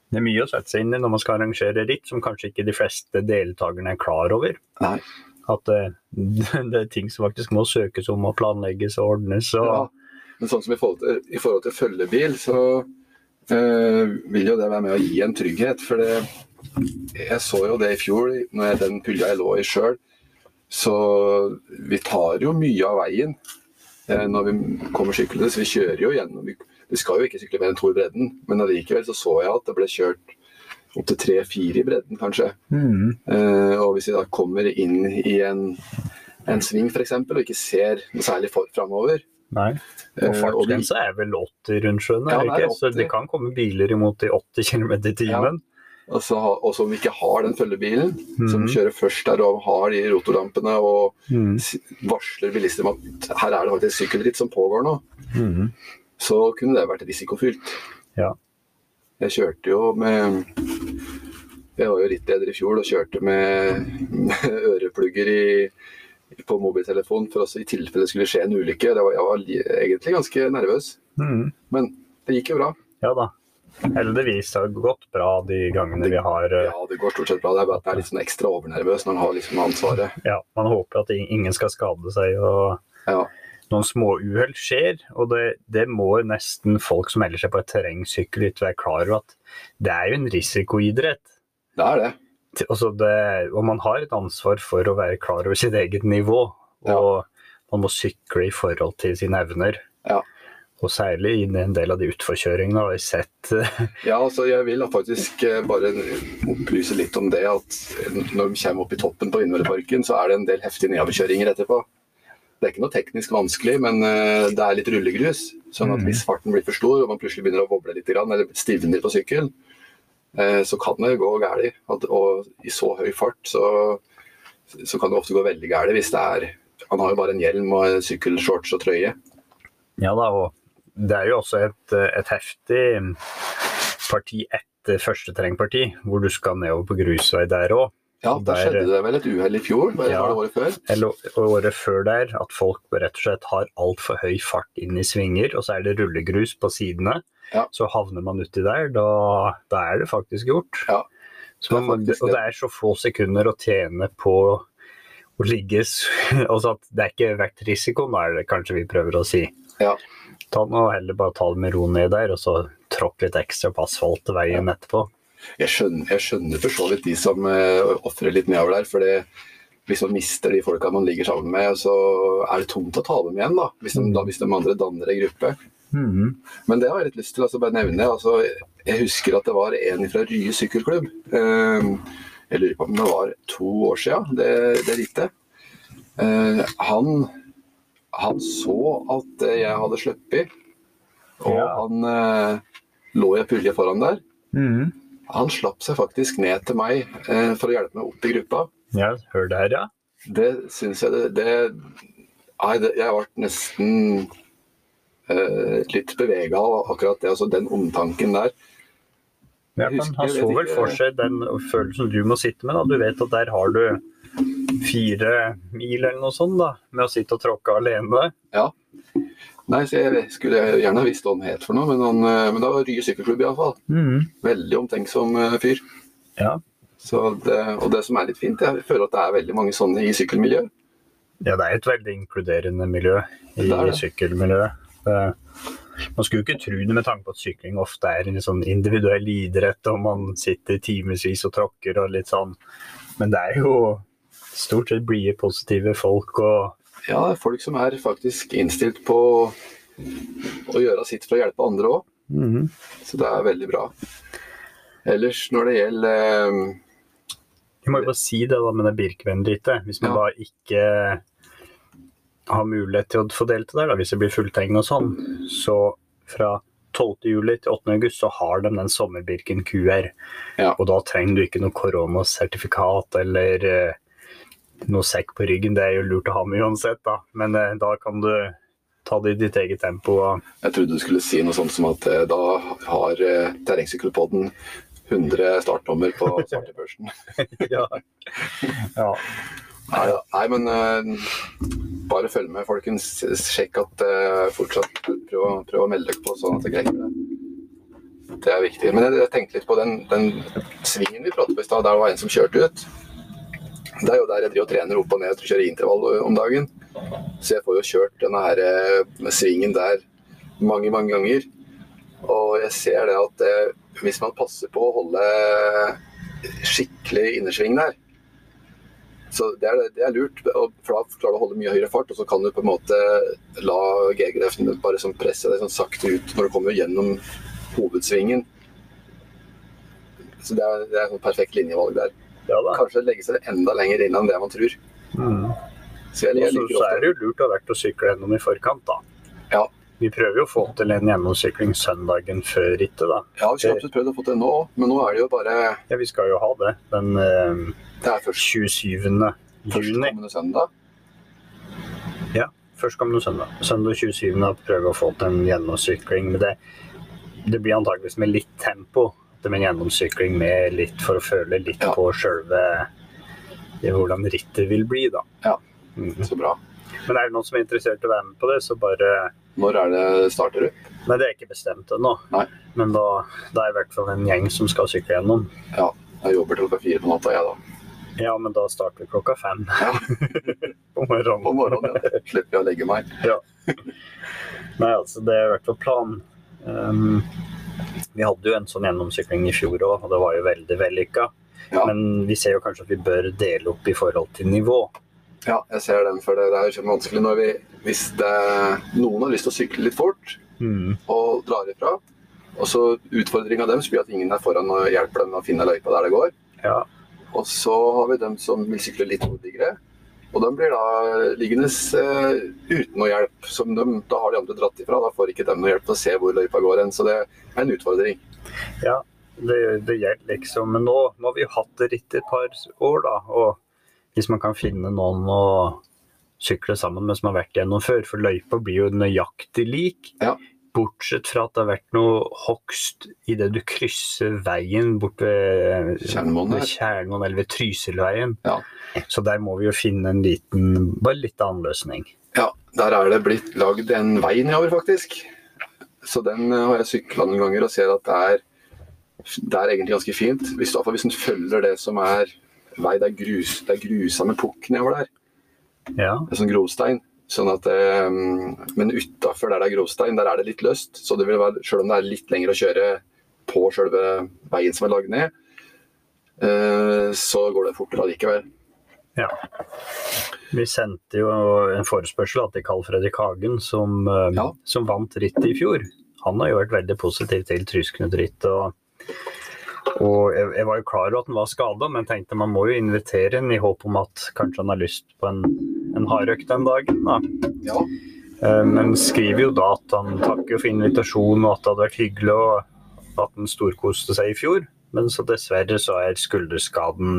B: Det er mye å sette seg inn i når man skal arrangere ritt, som kanskje ikke de fleste deltakerne er klar over.
A: Nei.
B: At eh, det er ting som faktisk må søkes om og planlegges og ordnes. Og,
A: Ja. Men sånn som i forhold til, i forhold til følgebil, så eh, vil jo det være med å gi en trygghet. For det, jeg så jo det i fjor, når jeg, den pulja jeg lå i sjøl. Så vi tar jo mye av veien eh, når vi kommer syklende. Så vi kjører jo gjennom. Vi, vi skal jo ikke sykle mer enn to i bredden, men allikevel så så jeg at det ble kjørt opptil tre-fire i bredden, kanskje.
B: Mm.
A: Eh, og hvis vi da kommer inn i en, en sving f.eks., og ikke ser noe særlig for framover
B: Nei.
A: Eh, og
B: Og
A: vi-
B: fartsgrensa er vel 80 rundt sjøen,
A: Ja,
B: er
A: det
B: det
A: er
B: ikke? Så
A: 80.
B: det kan komme biler imot i 80 km i timen.
A: og så ha- og som ikke har den følgebilen, som
B: Mhm.
A: kjører først der og har de rotorlampene og
B: Mm.
A: s- varsler bilister om at her er det faktisk sykkelritt som pågår nå,
B: Mm.
A: så kunne det vært risikofylt.
B: Ja.
A: Jeg kjørte jo med Jeg var jo rittleder i fjor og kjørte med, med øreplugger i, på mobiltelefon for også i tilfelle det skulle skje en ulykke. Det var, jeg var li- egentlig ganske nervøs.
B: Mm.
A: Men det gikk jo bra.
B: Ja da. heldigvis har det gått bra de gangene vi har eh,
A: Ja, det går stort sett bra. Det er bare at jeg er litt sånn ekstra overnervøs når han har liksom ansvaret.
B: Ja, man håper at ingen skal skade seg. og
A: Ja.
B: noen småuhell skjer, og det, det må nesten folk som melder seg på et terrengsykkel litt være klar over at det er jo en risikoidrett.
A: Det er det.
B: Til- Altså det, og man har et ansvar for å være klar over sitt eget nivå, og man må sykle i forhold til sine evner.
A: Ja.
B: Og særlig i en del av de utforkjøringene har jeg sett eh,
A: Ja, altså jeg vil da faktisk eh, bare opplyse litt om det at eh, når de kommer opp i toppen på Vindmølleparken, så er det en del heftige nedoverkjøringer etterpå. Det er ikke noe teknisk vanskelig, men eh, det er litt rullegrus. Sånn at
B: Mhm.
A: hvis farten blir for stor og man plutselig begynner å boble litt, grann, eller stivner på sykkelen, eh, så kan det gå galt. At- Og i så høy fart så, så kan det ofte gå veldig galt hvis det er Han har jo bare en hjelm og eh, sykkelshorts og trøye.
B: Ja da, og det er jo også et, eh, et heftig parti etter første terrengparti, hvor du skal nedover på grusvei der òg.
A: Ja, da
B: Der-
A: skjedde det vel et uhell i fjor, eller
B: Ja.
A: var det året før?
B: eller året før der, at folk rett og slett har altfor høy fart inn i svinger, og så er det rullegrus på sidene.
A: Ja.
B: Så havner man uti der, da, da er det faktisk gjort.
A: Ja,
B: Så
A: det er
B: man,
A: faktisk
B: og
A: det.
B: det er så få sekunder å tjene på å ligge s- altså at Det er ikke verdt risikoen, da er det kanskje vi prøver å si.
A: Ja.
B: Ta den og heller bare ta det med ro ned der, og så tråkk litt ekstra på asfaltveien etterpå.
A: jeg skjønner, jeg skjønner for så vidt de som uh, ofrer litt nedover der. For det, hvis man mister de folka man ligger sammen med, så er det tungt å ta dem igjen. da, Hvis de, da, hvis de andre danner ei gruppe.
B: Mhm.
A: Men det har jeg litt lyst til å altså, bare nevne. altså, Jeg husker at det var en fra Rye sykkelklubb. eh, jeg lurer på om det var to år siden, det, det rittet. Eh, han, han så at eh, jeg hadde sluppet, og
B: Ja.
A: han eh, lå i ei pulje foran der.
B: Mhm.
A: Mm-hmm. Han slapp seg faktisk ned til meg eh, for å hjelpe meg opp i gruppa.
B: Ja, hør der, ja.
A: Det syns jeg det, det Nei, det, jeg ble nesten eh, litt bevega av akkurat det. Altså den omtanken der.
B: Ja,
A: Jeg
B: men
A: husker-
B: han
A: jeg
B: så
A: vet
B: vel
A: ikke-
B: for seg den følelsen du må sitte med. da. Du vet at der har du fire mil eller noe sånt da, med å sitte og tråkke alene.
A: Nei, så jeg skulle gjerne ha visst hva han het for noe, men, han, eh, men det var Rye sykkelklubb iallfall. Veldig omtenksom eh, fyr.
B: Ja.
A: Så det, og det som er litt fint, jeg føler at det er veldig mange sånne i sykkelmiljøet.
B: Ja, det er et veldig inkluderende miljø i
A: Det er det.
B: sykkelmiljøet. Det- Man skulle jo ikke tro det med tanke på at sykling ofte er en sånn individuell idrett, og man sitter timevis og tråkker og litt sånn. Men det er jo stort sett blide, positive folk og
A: Ja, det er folk som er faktisk innstilt på å gjøre sitt for å hjelpe andre òg. Så det er veldig bra. Ellers når det gjelder eh,
B: Vi må jo bare si det da med det Birkevenn-rittet. Hvis man
A: Ja.
B: da ikke har mulighet til å få delt det der, da, hvis det blir fulltegn og sånn, så fra 12. juli til 8. august så har de den sommerbirken QR.
A: Ja.
B: Og da trenger du ikke noe koronasertifikat eller eh, noe sekk på ryggen. Det er jo lurt å ha med uansett, da. Men eh, da kan du ta det i ditt eget tempo. Og...
A: Jeg trodde du skulle si noe sånt som at eh, da har eh, terrengsykkelpodden 100 startnummer på startebørsen.
B: ja. ja.
A: Nei, da. Nei, men eh, bare følg med, folkens. Sjekk at eh, fortsatt prøv, å- prøv å melde dere på, sånn at dere rekker det. Det er viktig. Men jeg, jeg tenkte litt på den, den svingen vi pratet på i stad, der det var en som kjørte ut. Det er jo der jeg driver og trener opp og ned og kjører intervall eh, om dagen. Så jeg får jo kjørt denne her eh, svingen der mange, mange ganger. Og jeg ser det at eh, hvis man passer på å holde eh, skikkelig innersving der, så det er, det er lurt. og- For da klarer du å holde mye høyere fart, og så kan du på en måte la G-kreften bare sånn presse deg sånn sakte ut når du kommer gjennom hovedsvingen. Så det er, det er sånn perfekt linjevalg der.
B: ja da.
A: Kanskje legge seg enda lenger inn enn det man tror.
B: Mm.
A: Så jeg, jeg
B: Og så,
A: liker
B: så er
A: ofte
B: det jo lurt å ha vært og sykle gjennom i forkant, da.
A: Ja.
B: Vi prøver jo å få til en gjennomsykling søndagen før rittet, da.
A: Ja, vi skulle absolutt prøvd å få til nå, men nå er det jo bare
B: Ja, vi skal jo ha det den eh,
A: Det er først
B: 27. juni.
A: førstkommende søndag.
B: Førstkommende søndag. Søndag 27. å prøve å få til en gjennomsykling. Men det, det blir antakeligvis med litt tempo. Det med en gjennomsykling med litt for å føle litt
A: Ja.
B: på sjølve hvordan rittet vil bli, da.
A: Ja.
B: Mhm.
A: Så bra.
B: Men er det noen som er interessert i å være med på det, så bare
A: Når er det starter du?
B: Nei, det er ikke bestemt ennå.
A: Nei.
B: Men da, da er i hvert fall en gjeng som skal sykle gjennom.
A: Ja, jeg jobber til klokka fire på natta, jeg da.
B: Ja, men da starter vi klokka fem
A: Ja,
B: på morgenen.
A: på morgenen ja. slipper jeg å legge meg.
B: Nei, altså, det er i hvert fall planen. Ehm, vi hadde jo en sånn gjennomsykling i fjor òg, og det var jo veldig vellykka.
A: Ja.
B: Men vi ser jo kanskje at vi bør dele opp i forhold til nivå.
A: Ja, jeg ser den for det. Det er jo kjempevanskelig når vi Hvis det, noen har lyst til å sykle litt fort og drar ifra, og så utfordringa deres blir at ingen er foran og hjelper dem med å finne løypa der det går.
B: Ja.
A: Og så har vi dem som vil sykle litt modigere. Og de blir da liggende eh, uten noe hjelp. Som de, da har de andre dratt ifra. Da får ikke dem noe hjelp til å se hvor løypa går hen. Så det er en utfordring.
B: Ja, det, det gjelder liksom. Men nå, nå har vi jo hatt det ritt i et par år, da. Og hvis man kan finne noen å sykle sammen med som har vært gjennom før, for løypa blir jo nøyaktig lik.
A: Ja.
B: Bortsett fra at det har vært noe hogst idet du krysser veien bort ved
A: Tjernmoen her.
B: ved Tjernmoen eller ved Trysilveien.
A: Ja.
B: Så der må vi jo finne en liten, bare litt annen løsning.
A: Ja, der er det blitt lagd en vei nedover, faktisk. Så den eh, har jeg sykla noen ganger og ser at det er, det er egentlig ganske fint. Hvis, i hvert fall hvis en følger det som er vei, det er, grus, det er grusa med pukk nedover der.
B: Ja.
A: Det er sånn grovstein. Sånn at, eh, men utafor der det er grovstein, der er det litt løst. Så det vil være, selv om det er litt lenger å kjøre på selve veien som er lagd ned, eh, så går det fortere allikevel.
B: Ja. Vi sendte jo en forespørsel til Carl Fredrik Hagen, som, eh,
A: Ja.
B: som vant rittet i fjor. Han har jo vært veldig positiv til Trysknut-ritt. Og, og jeg, jeg var jo klar over at han var skada, men tenkte man må jo invitere han i håp om at kanskje han har lyst på en, en hardøkt den dagen. Da.
A: Ja,
B: Eh, Men skriver jo da at han takker jo for invitasjonen, og at det hadde vært hyggelig, og at han storkoste seg i fjor. Men så dessverre så er skulderskaden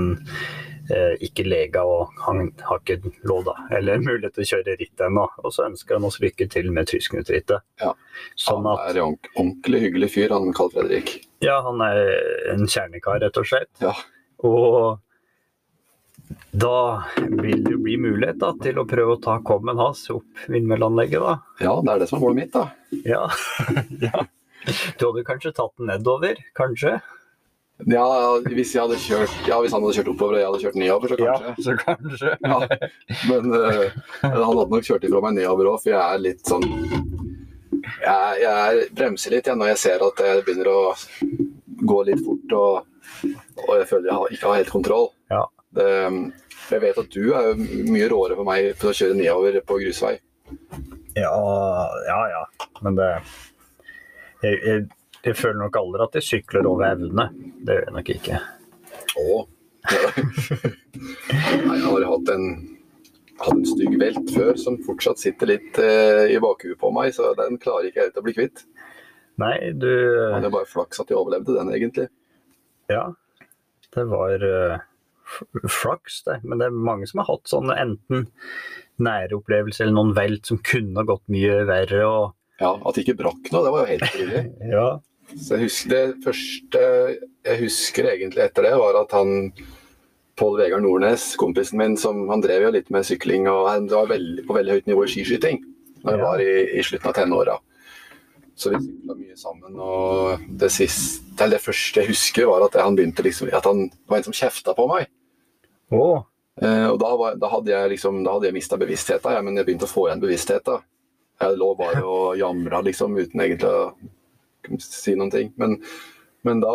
B: eh, ikke lega, og han har ikke lov da, eller mulighet til å kjøre ritt ennå. Og så ønsker han oss lykke til med Tysknut-rittet.
A: Ja.
B: Sånn
A: han
B: at
A: er en ordentlig- ordentlig hyggelig fyr, han Carl Fredrik.
B: Ja, han er en kjernekar, rett og slett.
A: Ja.
B: Og da vil det jo bli mulighet da, til å prøve å ta kommen hans opp vindmølleanlegget, da.
A: Ja, det er det som er målet mitt, da.
B: Ja. Du hadde kanskje tatt den nedover, kanskje?
A: Ja, hvis, jeg hadde kjørt, ja, hvis han hadde kjørt oppover og jeg hadde kjørt nedover, så kanskje.
B: så kanskje.
A: Ja. Men eh, han hadde nok kjørt ifra meg nedover òg, for jeg er litt sånn Jeg, jeg er- bremser litt igjen når jeg ser at jeg begynner å gå litt fort og, og jeg føler jeg har, ikke har helt kontroll.
B: Ja.
A: Det, jeg vet at du er jo mye råere for meg for å kjøre nedover på grusvei.
B: Ja, ja. ja. Men det jeg, jeg, jeg føler nok aldri at jeg sykler over evne. Det gjør jeg nok ikke.
A: Å. Ja. Nei, jeg har hatt en, hatt en stygg velt før som fortsatt sitter litt eh, i bakhuet på meg, så den klarer ikke jeg helt å bli kvitt.
B: Nei, du
A: Men det er bare flaks at jeg overlevde den, egentlig.
B: Ja. Det var eh, f- flaks, det. Men det er mange som har hatt sånne enten nære opplevelser eller noen velt som kunne ha gått mye verre. og
A: Ja, At det ikke brakk noe, det var jo helt frivillig.
B: ja.
A: Så jeg husker, Det første jeg husker egentlig etter det, var at han Pål Vegard Nordnes, kompisen min, som han drev jo litt med sykling og han var veldig, på veldig høyt nivå i skiskyting da jeg
B: Ja.
A: var i, i slutten av tenåra. Så vi sykla mye sammen. Og det, siste, eller det første jeg husker, var at han begynte liksom, at han det var en som kjefta på meg.
B: Å,
A: Eh, og da, var, da hadde jeg liksom, da hadde jeg mista bevisstheten, jeg, men jeg begynte å få igjen bevisstheten. Jeg lå bare og jamra liksom, uten egentlig å si noen ting. Men, men da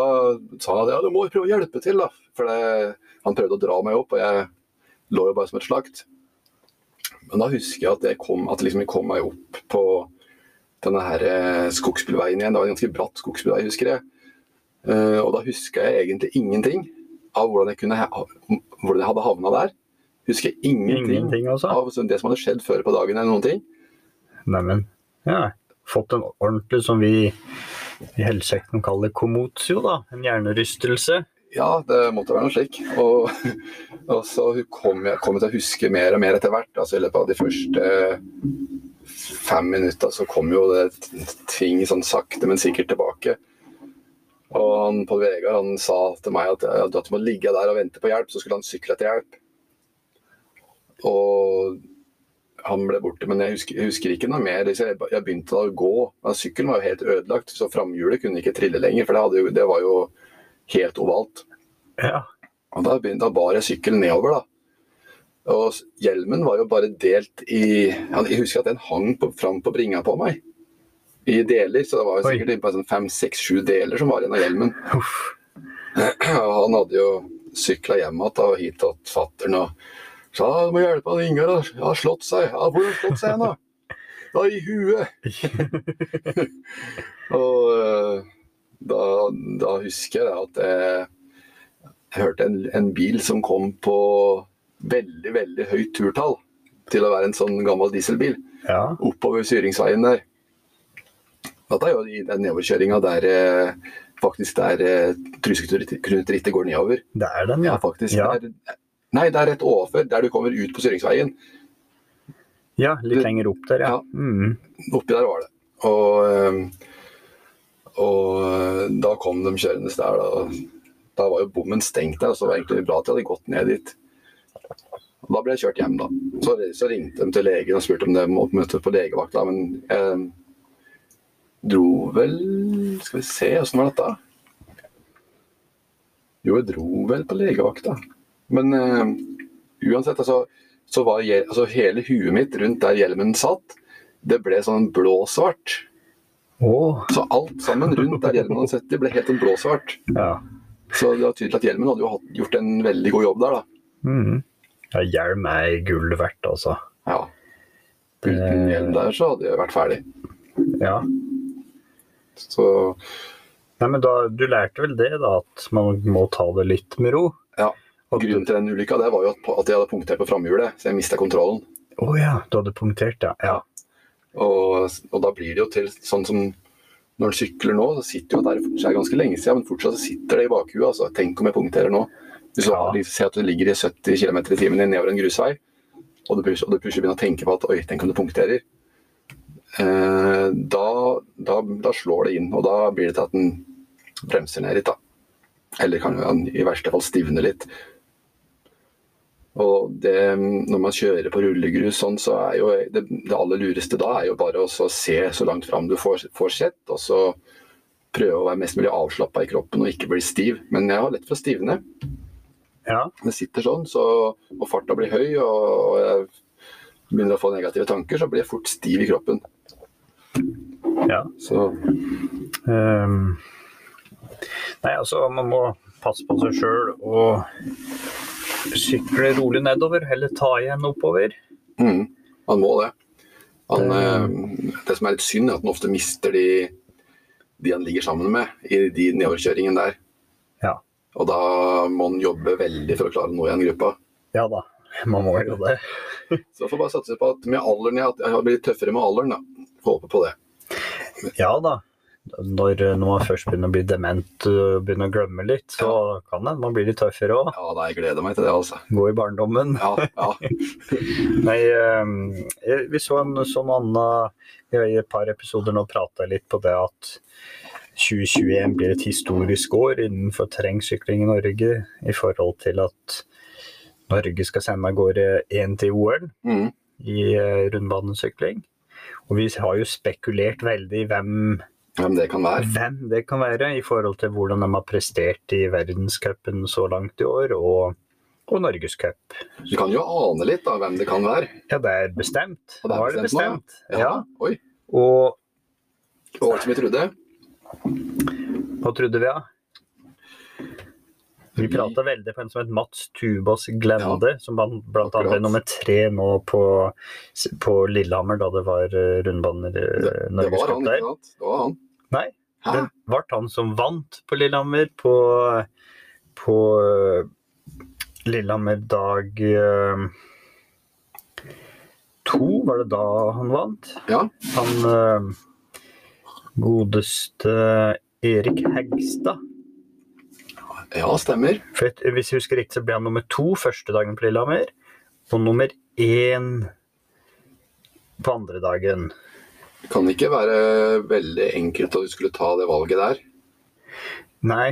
A: sa han at ja, du må jo prøve å hjelpe til, da. For det, han prøvde å dra meg opp, og jeg lå jo bare som et slakt. Men da husker jeg at jeg kom, at liksom jeg kom meg opp på denne her eh, skogsbilveien igjen. Det var en ganske bratt skogsbilvei, husker jeg. Eh, og da husker jeg egentlig ingenting av hvordan jeg, kunne, ha- hvordan jeg hadde havna der. Husker jeg ingenting,
B: ingenting, altså?
A: av sånn det som hadde skjedd før på dagen eller noen ting.
B: Neimen, ja. Fått en ordentlig, som vi i helsesektoren kaller komotio, da. En hjernerystelse.
A: Ja, det måtte være noe slik. Og, og så kom jeg, kom jeg til å huske mer og mer etter hvert. Altså, I løpet av de første eh, fem minutta så kom jo det ting sånn sakte, men sikkert tilbake. Og han Pål Vegard han sa til meg at, at du må ligge der og vente på hjelp. Så skulle han sykle etter hjelp. Og han ble borte, men jeg husker, jeg husker ikke noe mer. Så Jeg, jeg begynte da å gå. Men sykkelen var jo helt ødelagt, så framhjulet kunne ikke trille lenger. For det, hadde jo, det var jo helt ovalt.
B: Ja.
A: Og da, begynte, da bar jeg sykkelen nedover, da. Og s- hjelmen var jo bare delt i ja, Jeg husker at den hang på, fram på bringa på meg. I deler, så det var jo
B: Oi.
A: sikkert bare sånn fem, seks, sju deler som var igjen av hjelmen.
B: Uff.
A: Og han hadde jo sykla hjem igjen da, og hit til fatter'n og sa du må hjelpe han Ingar, da. han har slått seg. Ja, hvor har han slått seg hen, da? Da i huet. Og eh, da, da husker jeg at jeg, jeg hørte en, en bil som kom på veldig, veldig høyt turtall til å være en sånn gammel dieselbil
B: Ja.
A: oppover Syringsveien der. Dette er jo i den nedoverkjøringa der eh, faktisk der eh, Truseknuterittet går nedover.
B: Det er den,
A: Ja,
B: ja.
A: faktisk.
B: Ja.
A: Der, nei, det er rett overfor, der du kommer ut på Syringsveien.
B: Ja, litt lenger opp der, ja.
A: Ja.
B: Mm.
A: Oppi der var det. Og, eh, og eh, da kom de kjørende der. Da, da var jo bommen stengt der, så det var egentlig bra at jeg hadde gått ned dit. Og Da ble jeg kjørt hjem, da. Så, så ringte de til legen og spurte om de måtte møte på legevakta, men jeg dro vel Skal vi se, åssen var dette? Jo, jeg dro vel på legevakta. Men eh, uansett, altså, så var hjel- altså, hele huet mitt rundt der hjelmen satt, det ble sånn blåsvart.
B: Å,
A: Så alt sammen rundt der hjelmen hadde sett, det ble helt sånn blåsvart.
B: ja.
A: Så det var tydelig at hjelmen hadde jo hatt, gjort en veldig god jobb der, da.
B: Mm. ja. Hjelm er gull verdt, altså.
A: Ja. Uten hjelm der så hadde jeg vært ferdig.
B: Ja.
A: Så
B: Nei, men da, du lærte vel det, da, at man må ta det litt med ro?
A: Ja.
B: At du-
A: grunnen til den ulykka, det var jo at, at jeg hadde punktert på framhjulet, så jeg mista kontrollen.
B: Å ja, du hadde punktert, ja. ja.
A: Og, og da blir det jo til sånn som når en sykler nå, så sitter jo der det er ganske lenge siden, men fortsatt så sitter det i bakhuet. Altså, tenk om jeg punkterer nå. Hvis du
B: Ja.
A: har- ser at du ligger i 70 km i timen nedover en grusvei, og du plutselig og du plutselig begynner å tenke på at oi, tenk om du punkterer, eh, da, da, da slår det inn. Og da blir det til at den bremser ned litt, da. Eller kan den i verste fall stivne litt. Og det, når man kjører på rullegrus sånn, så er jo det, det aller lureste da er jo bare å så se så langt fram du får, får sett, og så prøve å være mest mulig avslappa i kroppen og ikke bli stiv. Men jeg har lett for å stivne.
B: Ja,
A: Det sitter sånn, så, og farta blir høy, og, og jeg begynner å få negative tanker, så blir jeg fort stiv i kroppen.
B: ja.
A: Så
B: Ehm, nei, altså, man må passe på seg sjøl og sykle rolig nedover, heller ta igjen oppover.
A: mm, man må det. Han, eh, det som er litt synd, er at han ofte mister de, de han ligger sammen med i de nedoverkjøringene der.
B: Ja.
A: Og da må han jobbe veldig for å klare å nå igjen gruppa.
B: Ja da, man må jo det.
A: Så jeg får bare satse på at med alderen, ja, at jeg har blitt tøffere med alderen, da. Håper på det.
B: Ja da. Når, eh, når man først begynner å bli dement eh, og begynner å glemme litt, så kan det. Man blir litt tøffere òg.
A: Ja, nei, jeg gleder meg til det, altså.
B: Gå i barndommen.
A: Ja, ja.
B: Nei, ehm, eh, vi så en sånn annen Vi har i et par episoder nå prata litt på det at 2021 blir et historisk år innenfor terrengsykling i Norge, i forhold til at Norge skal sende av gårde én til OL
A: Mm.
B: i eh, rundbanesykling. Og vi har jo spekulert veldig i hvem,
A: Hvem det kan være.
B: hvem det kan være, i forhold til hvordan de har prestert i verdenscupen så langt i år, og, og Norgescup.
A: Du kan jo ane litt da, hvem det kan være.
B: Ja, det er bestemt.
A: Og det er
B: Nå er det
A: bestemt nå,
B: bestemt. Ja.
A: Oi.
B: Og
A: Det var ikke som vi trodde.
B: Hva trodde vi, da? Vi prata veldig på en som het Mats Tubas Glende, som som bl.a. ble
A: akkurat.
B: nummer tre nå på, på Lillehammer, da det var eh, rundbaner eh,
A: Det var
B: Norgescup
A: han,
B: der.
A: ikke sant? Det var han.
B: Nei,
A: Hæ?
B: det ble han som vant på Lillehammer på, på eh, Lillehammer dag eh, to, var det da han vant?
A: Ja.
B: Han eh, godeste Erik Hegstad.
A: ja, stemmer.
B: For et- hvis jeg husker riktig, så ble han nummer to første dagen på Lillehammer, og nummer én på andre dagen.
A: Det kan ikke være veldig enkelt at du skulle ta det valget der.
B: Nei,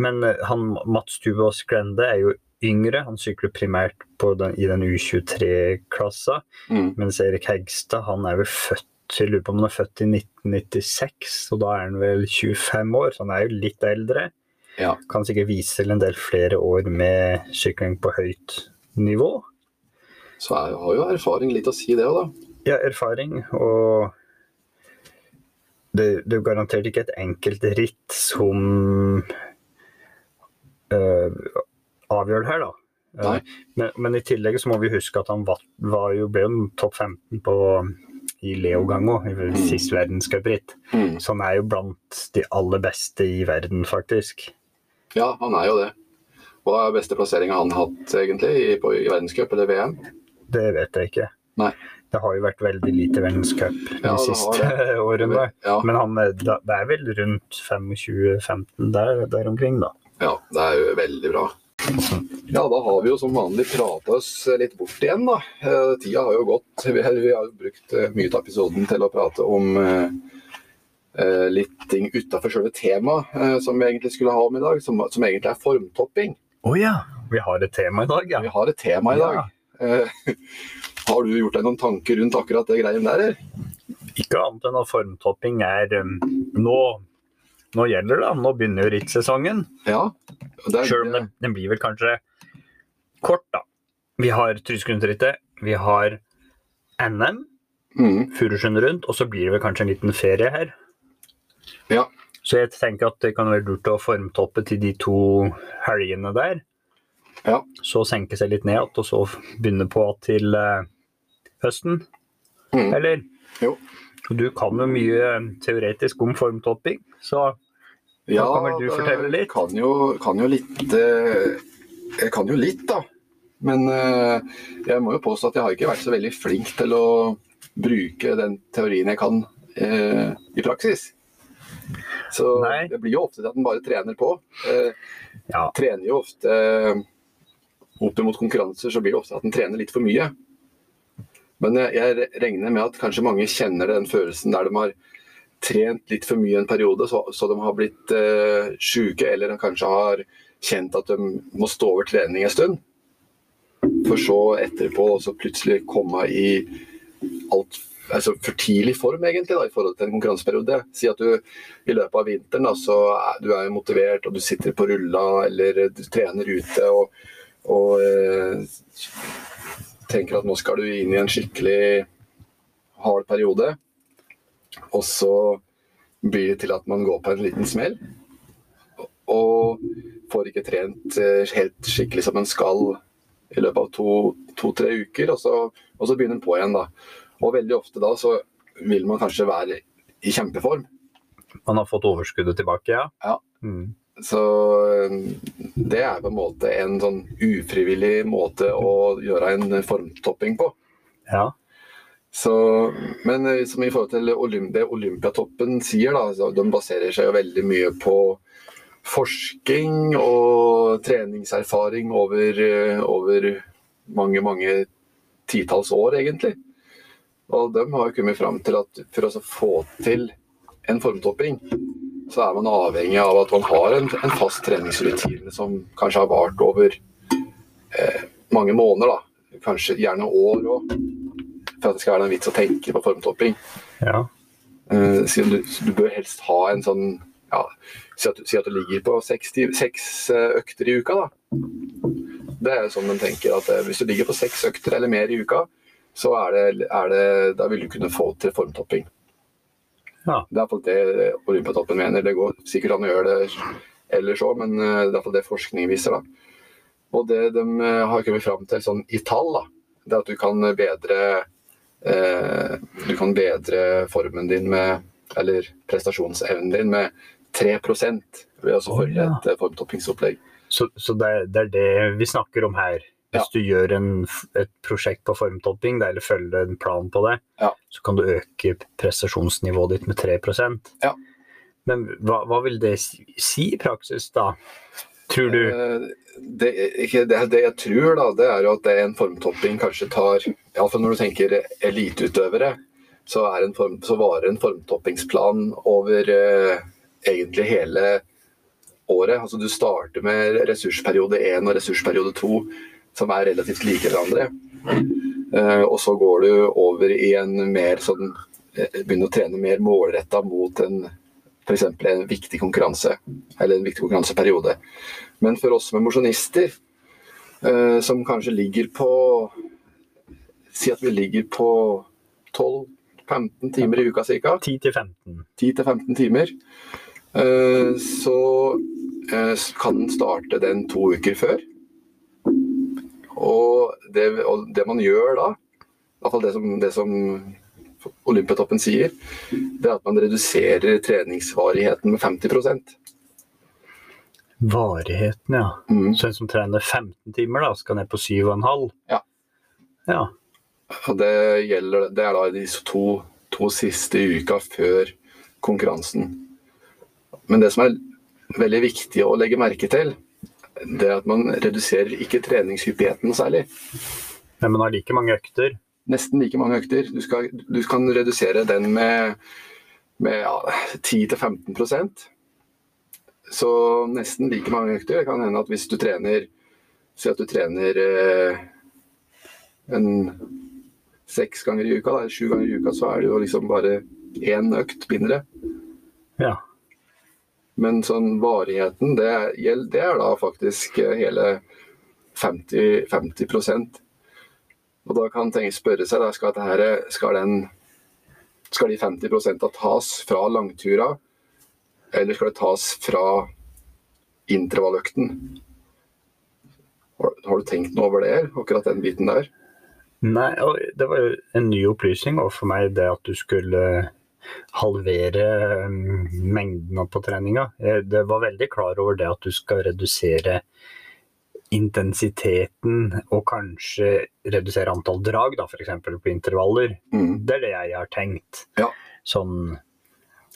B: men eh, han Mats Tubås Glende er jo yngre. Han sykler primært på den, i den U23-klassa.
A: Mm.
B: Mens Erik Hegstad han er vel født jeg lurer på om han er født i 1996, og da er han vel 25 år, så han er jo litt eldre.
A: Ja.
B: Kan sikkert vise til en del flere år med sykling på høyt nivå.
A: Så jeg har jo erfaring litt å si det òg, da.
B: Ja, erfaring og det, det er jo garantert ikke et enkelt ritt som øh, avgjør det her, da.
A: Nei.
B: Eh, Men, men i tillegg så må vi huske at han var, var jo, ble jo topp 15 på, i Leogang òg, i sist verdenscupritt.
A: Mm.
B: Så han er jo blant de aller beste i verden, faktisk.
A: Ja, han er jo det. Hva er beste plasseringa han har hatt egentlig i, på, i verdenscup eller VM?
B: Det vet jeg ikke.
A: Nei.
B: Det har jo vært veldig lite verdenscup de
A: Ja, det har
B: siste årene.
A: Ja,
B: Men han, er- da- det er vel rundt 25-15 der, der omkring, da.
A: ja, det er jo veldig bra. Ja, da har vi jo som vanlig prata oss litt bort igjen, da. Eh, Tida har jo gått. Vi eller vi har jo brukt eh, mye av episoden til å prate om eh, eh, litt ting utafor sjølve temaet eh, som vi egentlig skulle ha om i dag, som, som egentlig er formtopping.
B: Å ja! Vi har et tema i dag, ja.
A: Vi har et tema i dag.
B: Ja.
A: Eh, har du gjort deg noen tanker rundt akkurat det greien der, eller?
B: Ikke annet enn at formtopping er um, nå, nå gjelder det, nå begynner jo rittsesongen.
A: Ja. Det er-
B: Sjøl om den, den blir vel kanskje kort, da. Vi har Tryskundrittet, vi har NM,
A: Mm,
B: Furusund rundt, og så blir det vel kanskje en liten ferie her.
A: Ja.
B: Så jeg tenker at det kan være lurt å formtoppe til de to helgene der.
A: Ja.
B: Så senke seg litt ned igjen, og så begynne på til eh, høsten.
A: Mhm.
B: Eller?
A: Jo.
B: Og Du kan jo mye eh, teoretisk om formtopping, så
A: ja,
B: kan vel du
A: det
B: fortelle litt?
A: Kan jo, kan jo litt eh, Jeg kan jo litt, da. Men eh, jeg må jo påstå at jeg har ikke vært så veldig flink til å bruke den teorien jeg kan eh, i praksis. Så
B: Nei.
A: det blir jo ofte til at en bare trener på. Eh,
B: ja.
A: trener jo ofte eh, opp mot konkurranser, så blir det ofte at en trener litt for mye. Men jeg, jeg regner med at kanskje mange kjenner den følelsen der de har trent litt for mye en periode, så, så de har blitt eh, sjuke, eller de kanskje har kjent at de må stå over trening en stund. For så etterpå så plutselig komme i alt altså for tidlig form, egentlig, da, i forhold til en konkurranseperiode. Si at du i løpet av vinteren da, så er du er motivert, og du sitter på rulla eller du trener ute og, og eh, tenker at nå skal du inn i en skikkelig hard periode. Og så blir det til at man går på en liten smell. Og får ikke trent eh, helt skikkelig som en skal i løpet av to- to-tre uker, og så, og så begynner en på igjen, da. Og veldig ofte da så vil man kanskje være i kjempeform.
B: man har fått overskuddet tilbake, ja.
A: Ja.
B: Mm.
A: Så eh, det er på en måte en sånn ufrivillig måte å gjøre en formtopping på.
B: ja.
A: Så, men eh, som i forhold til Olymp det Olympiatoppen sier, da, så de baserer seg jo veldig mye på forskning og treningserfaring over, eh, over mange, mange titalls år, egentlig. Og de har jo kommet fram til at for å så få til en formtopping, så er man avhengig av at man har en, en fast treningsrutine som kanskje har vart over eh, mange måneder, da. Kanskje gjerne år òg for at det skal være noen vits å tenke på formtopping.
B: ja.
A: Eh, så du, så du bør helst ha en sånn ja, si, at, du- si at du ligger på seks, ti- seks eh, økter i uka, da. Det er jo sånn de tenker at eh, hvis du ligger på seks økter eller mer i uka, så er det, er det Da vil du kunne få til formtopping.
B: Ja.
A: Det er iallfall det Olympiatoppen mener. Det går sikkert an å gjøre det ellers òg, men eh, det er iallfall det forskning viser, da. Og det de eh, har kommet fram til sånn i tall, da, det er at du kan bedre Eh, du kan bedre formen din med, eller prestasjonsevnen din med 3 ved å
B: Oi,
A: følge
B: ja.
A: et eh, formtoppingsopplegg.
B: Så, så det, er- det er det vi snakker om her. Hvis du gjør en, f- et prosjekt på formtopping, eller følger en plan på det,
A: Ja.
B: så kan du øke prestasjonsnivået ditt med 3
A: Ja.
B: Men hva, hva vil det si, si i praksis, da? Tror du
A: Eh, Det, ikke, det, det jeg tror, da, det er jo at det en formtopping kanskje tar Iallfall når du tenker eliteutøvere, så, er en form, så varer en formtoppingsplan over eh, egentlig hele året. Altså du starter med ressursperiode 1 og ressursperiode 2, som er relativt like hverandre. Eh, og så går du over i en mer sånn eh, Begynner å trene mer målretta mot en f.eks. en viktig konkurranse, eller en viktig konkurranseperiode. Men for oss som er mosjonister, eh, som kanskje ligger på Si at vi ligger på 12-15 timer i uka ca.
B: 10 til 15.
A: 10-15 timer. eh, Så eh, kan den starte den to uker før. Og det, og det man gjør da, i hvert fall det som, det som Olympiatoppen sier, det er at man reduserer treningsvarigheten med 50
B: Varigheten, ja.
A: mm.
B: Så en som trener 15 timer, da, skal ned på 7,5?
A: Ja.
B: Ja.
A: Og det, gjelder, det er da de to, to siste uka før konkurransen. Men det som er veldig viktig å legge merke til, det er at man reduserer ikke treningshyppigheten noe særlig.
B: Men man har like mange økter.
A: Nesten like mange økter. Du, skal, du kan redusere den med, med ja, 10-15 Så nesten like mange økter. Det kan hende at hvis du trener Si at du trener eh, en seks ganger i uka, da, eller sju ganger i uka, så er det jo liksom bare én økt mindre.
B: Ja.
A: Men sånn varigheten, det er, gjeld- det er da faktisk eh, hele 50, 50 Og da kan tenke spørre seg, da, skal, dette her, skal, den, skal de 50 -a tas fra langtura, eller skal det tas fra intervalløkten? Har, har du tenkt noe over det, akkurat den biten der?
B: Nei, og det var jo en ny opplysning også for meg, det at du skulle eh, halvere mm, mengden av på treninga. Eh, Det var veldig klar over det at du skal redusere intensiteten og kanskje redusere antall drag, da, f.eks. på intervaller.
A: Mm.
B: Det er det jeg har tenkt.
A: Ja.
B: Sånn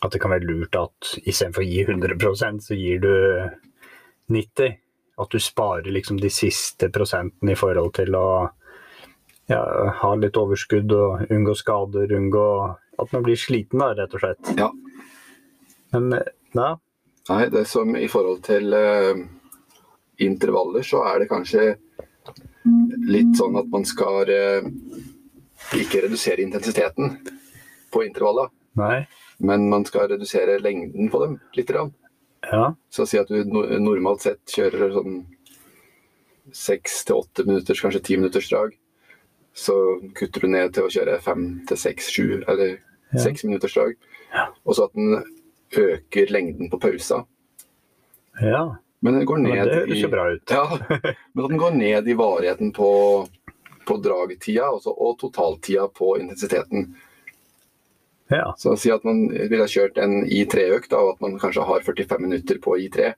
B: at det kan være lurt at istedenfor å gi 100 så gir du 90 At du sparer liksom de siste prosentene i forhold til å ja, ha litt overskudd og unngå skader, unngå at man blir sliten, da, rett og slett.
A: Ja.
B: Men eh, ja,
A: Nei, det som i forhold til eh, intervaller, så er det kanskje litt sånn at man skal eh, ikke redusere intensiteten på intervallene,
B: nei,
A: men man skal redusere lengden på dem litt. Grann.
B: ja,
A: Så si at du no normalt sett kjører sånn seks til åtte minutters, kanskje ti minutters drag. Så kutter du ned til å kjøre fem til seks, sju eller
B: Ja.
A: seks minutters drag.
B: Ja.
A: Og så at den øker lengden på pausa.
B: ja.
A: Men den går
B: Men
A: ned
B: det høres jo
A: i
B: bra ut.
A: Ja, men at den går ned i varigheten på, på dragtida altså, og totaltida på intensiteten.
B: Ja,
A: Så si at man ville ha kjørt en I3-økt, og at man kanskje har 45 minutter på I3.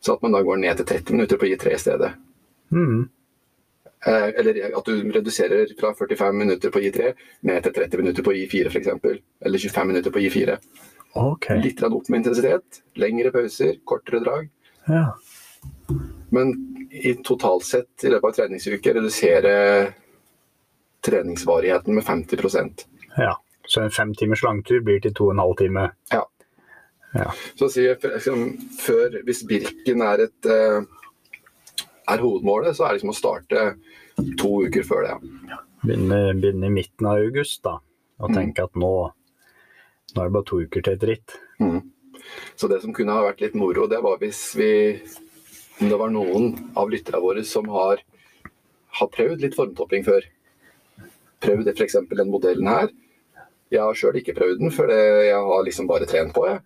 A: Så at man da går ned til 30 minutter på I3 i stedet.
B: mhm,
A: Eh, Eller at du reduserer fra 45 minutter på I3 ned til 30 minutter på I4 f.eks. Eller 25 minutter på I4.
B: ok.
A: Litt grann opp med intensitet, lengre pauser, kortere drag.
B: Ja.
A: Men i totalt sett i løpet av en treningsuke redusere treningsvarigheten med 50
B: ja. Så en fem timers langtur blir til to og en halv time.
A: Så å si, for eksempel, før, Hvis Birken er, et, eh, er hovedmålet, så er det liksom å starte to uker før det.
B: begynne, begynne i midten av august da, og
A: Mm.
B: tenke at nå, nå er det bare to uker til et ritt.
A: Så det som kunne ha vært litt moro, det var hvis vi om det var noen av lytterne våre som har, har prøvd litt formtopping før. Prøvd f.eks. den modellen her. Jeg har sjøl ikke prøvd den, for det, jeg har liksom bare trent på. Jeg.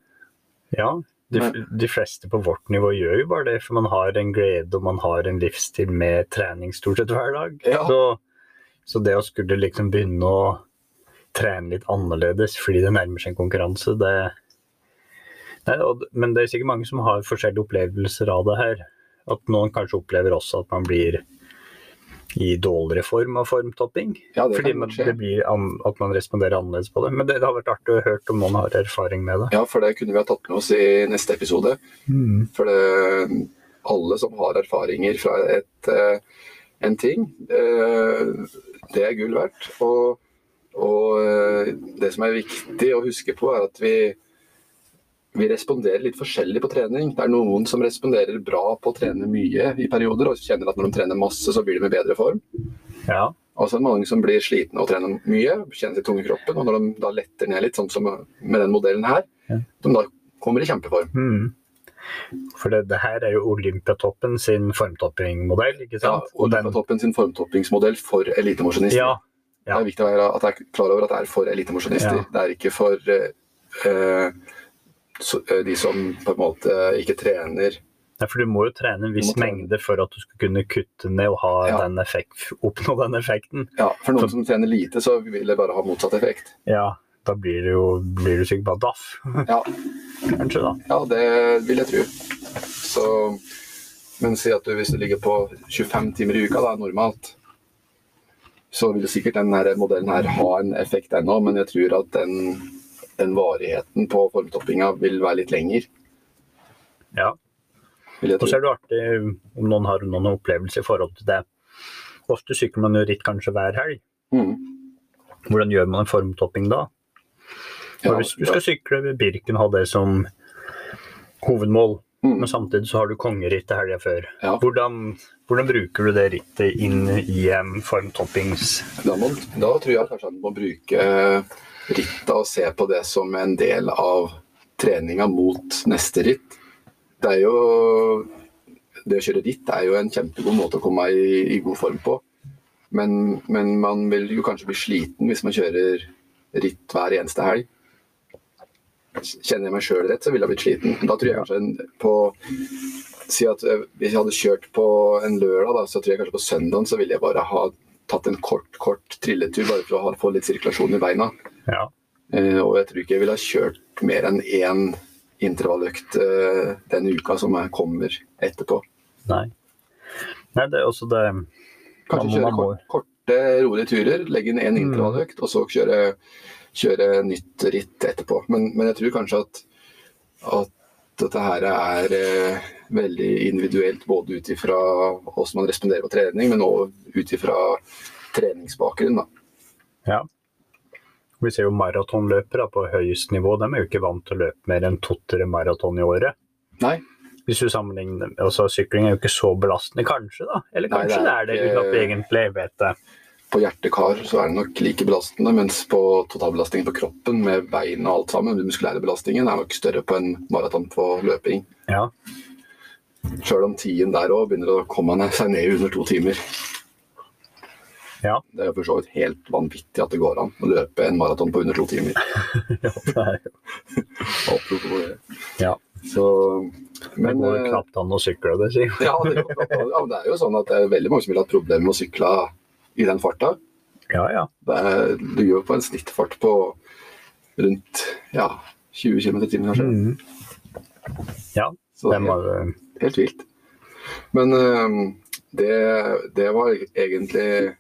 B: Ja, de, f- de fleste på vårt nivå gjør jo bare det, for man har en glede og man har en livsstil med trening stort sett hver dag.
A: Ja.
B: Så, så det å skulle liksom begynne å trene litt annerledes fordi det nærmer seg en konkurranse, det Nei, og, men det er sikkert mange som har forskjellige opplevelser av det her. At noen kanskje opplever også at man blir i dårligere form av formtopping.
A: Ja, det
B: Fordi
A: kan
B: man,
A: skje.
B: det blir an, at man responderer annerledes på det. Men det, det har vært artig å høre om noen har erfaring med det.
A: Ja, for det kunne vi ha tatt med oss i neste episode. For det, alle som har erfaringer fra et, eh, en ting, eh, det er gull verdt. Og, og eh, det som er viktig å huske på, er at vi vi responderer litt forskjellig på trening. Det er noen som responderer bra på å trene mye i perioder, og kjenner at når de trener masse, så blir de i bedre form.
B: Ja.
A: Og så er det mange som blir slitne og trener mye, kjenner seg tunge i kroppen. Og når de da letter ned litt, sånn som med den modellen her,
B: Ja.
A: de da kommer i kjempeform.
B: Mm. For det, det her er jo Olympiatoppen sin formtoppingmodell, ikke
A: Ja,
B: sant?
A: og
B: den,
A: toppen sin formtoppingsmodell for elitemosjonister.
B: ja, ja.
A: Det er viktig å være at jeg er klar over at det er for elitemosjonister.
B: Ja.
A: Det er ikke for eh, eh, så- eh, de som på en måte ikke trener
B: Ja, for du må jo trene en
A: Du
B: viss
A: må trene.
B: mengde for at du skal kunne kutte ned og ha
A: Ja.
B: den effekt, oppnå den effekten.
A: Ja, for noen
B: Så-
A: som trener lite, så vil det bare ha motsatt effekt.
B: Ja, da blir du jo blir du sikkert bare daff,
A: Ja,
B: kanskje da.
A: ja det vil jeg tro. Så, men si at du, hvis du ligger på 25 timer i uka, da, normalt, så vil sikkert denne modellen her ha en effekt ennå, men jeg tror at den, den varigheten på formtoppinga vil være litt lenger.
B: Ja.
A: Vil jeg
B: Og
A: tro.
B: så er det jo artig om noen har noen opplevelser i forhold til det. Ofte sykler man jo ritt kanskje hver helg.
A: Mm.
B: Hvordan gjør man en formtopping da?
A: Ja,
B: Og hvis du
A: ja.
B: skal sykle ved Birken, ha det som hovedmål,
A: Mm.
B: men samtidig så har du kongerittet helga før.
A: Ja.
B: Hvordan, hvordan bruker du det rittet inn i en formtoppings...
A: Da, må, da tror jeg kanskje at man må bruke eh, rittet og se på det som en del av treninga mot neste ritt. Det er jo Det å kjøre ritt er jo en kjempegod måte å komme i, i god form på. Men, men man vil jo kanskje bli sliten hvis man kjører ritt hver eneste helg. Kjenner jeg meg sjøl rett, så ville jeg blitt sliten. Da tror jeg kanskje en, på Si at eh, hvis jeg hadde kjørt på en lørdag, da, så tror jeg kanskje på søndagen så ville jeg bare ha tatt en kort, kort trilletur bare for å ha, få litt sirkulasjon i beina.
B: Ja.
A: Eh, og jeg tror ikke jeg ville ha kjørt mer enn én intervalløkt eh, den uka som jeg kommer etterpå.
B: Nei. Nei, det er også det
A: Kanskje
B: Ja,
A: kjøre
B: man må-
A: kort, korte, rolige turer, legge inn én
B: Mm.
A: intervalløkt, og så kjøre, kjøre nytt ritt etterpå. Men, men jeg tror kanskje at, at dette her er eh, veldig individuelt, både ut ifra hvordan man responderer på trening, men òg ut ifra treningsbakgrunn. Da.
B: Ja. Vi ser jo maratonløpere på høyest nivå. De er jo ikke vant til å løpe mer enn to-tre maraton i året.
A: Nei,
B: Hvis du sammenligner altså Sykling er jo ikke så belastende, kanskje, da? Eller
A: Nei, det er
B: kanskje det er det,
A: ikke-
B: uten at vi egentlig vet det.
A: på hjertekar så er det nok like belastende, mens på totalbelastningen på kroppen med bein og alt sammen, den muskulære belastningen, er nok større på en maraton på løping.
B: Ja.
A: Sjøl om tiden der òg begynner å komme seg ned under to timer.
B: Ja.
A: Det er jo for så vidt helt vanvittig at det går an å løpe en maraton på under to timer.
B: ja, det er jo-
A: Apropos det.
B: ja.
A: Så,
B: Det
A: men
B: går jo
A: eh,
B: knapt an å sykle, det sier
A: ja, det går knapt an. Ja, men det er jo sånn at det er veldig mange som vil ha problemer med å sykle i den farta.
B: Ja, ja.
A: Det er, du gjør på en snittfart på rundt ja, 20 km i timen, kanskje.
B: Mm. Ja,
A: Så
B: det må jo
A: Helt vilt. Men øhm, det, det var egentlig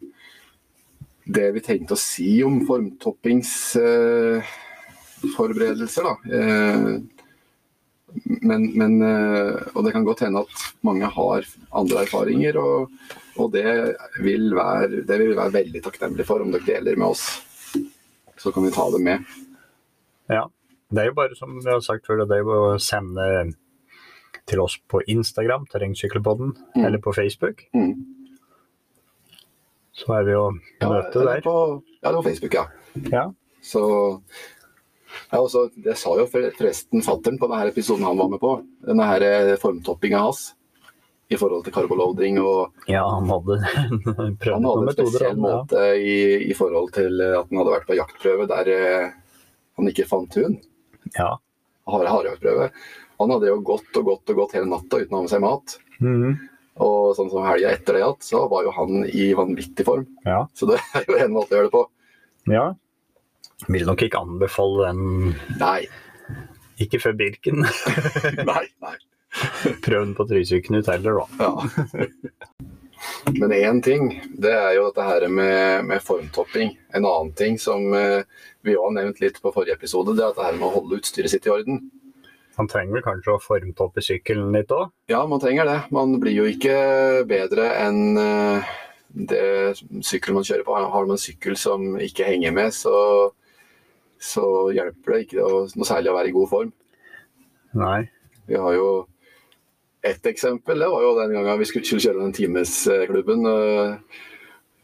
A: det vi tenkte å si om formtoppingsforberedelser, da. Eh, men, men eh, Og det kan godt hende at mange har andre erfaringer, og, og det, vil være, det vil vi være veldig takknemlige for om dere deler med oss. Så kan vi ta det med.
B: Ja. Det er jo bare som vi har sagt før, det er jo å sende til oss på Instagram, terrengsykkelpodden,
A: Mm.
B: eller på Facebook.
A: Mm.
B: Så er vi jo møte
A: eller
B: der.
A: På, ja, det var Facebook, ja.
B: Ja.
A: Så ja, og så- Det sa jo for- forresten fattern på denne episoden han var med på. Denne her eh, formtoppinga hans i forhold til carboloading. Og
B: ja, han hadde prøvd
A: han
B: noen
A: hadde en
B: metoder.
A: spesiell
B: Han, ja.
A: måte i, i forhold til eh, at han hadde vært på jaktprøve der eh, han ikke fant hund.
B: Ja.
A: Hare, harejaktprøve. Han hadde jo gått og gått og gått hele natta uten å ha med seg mat.
B: Mhm.
A: Og sånn som helga etter det igjen, så var jo han i vanvittig form.
B: ja.
A: Så det er jo en måte å gjøre det på.
B: ja. Vil nok ikke anbefale den
A: Nei.
B: ikke før Birken.
A: Nei. nei.
B: Prøv den på Trysilknut heller, da.
A: Ja. Men én ting, det er jo dette her med, med formtopping. En annen ting som eh, vi òg har nevnt litt på forrige episode, det er dette her med å holde utstyret sitt i orden.
B: Han trenger vel kanskje å formtoppe sykkelen litt òg?
A: Ja, man trenger det. Man blir jo ikke bedre enn eh, det sykkelen man kjører på. Har man en sykkel som ikke henger med, så, så hjelper det ikke å- noe særlig å være i god form.
B: Nei.
A: Vi har jo ett eksempel. Det var jo den gangen vi skulle skulle kjøre den timesklubben øh,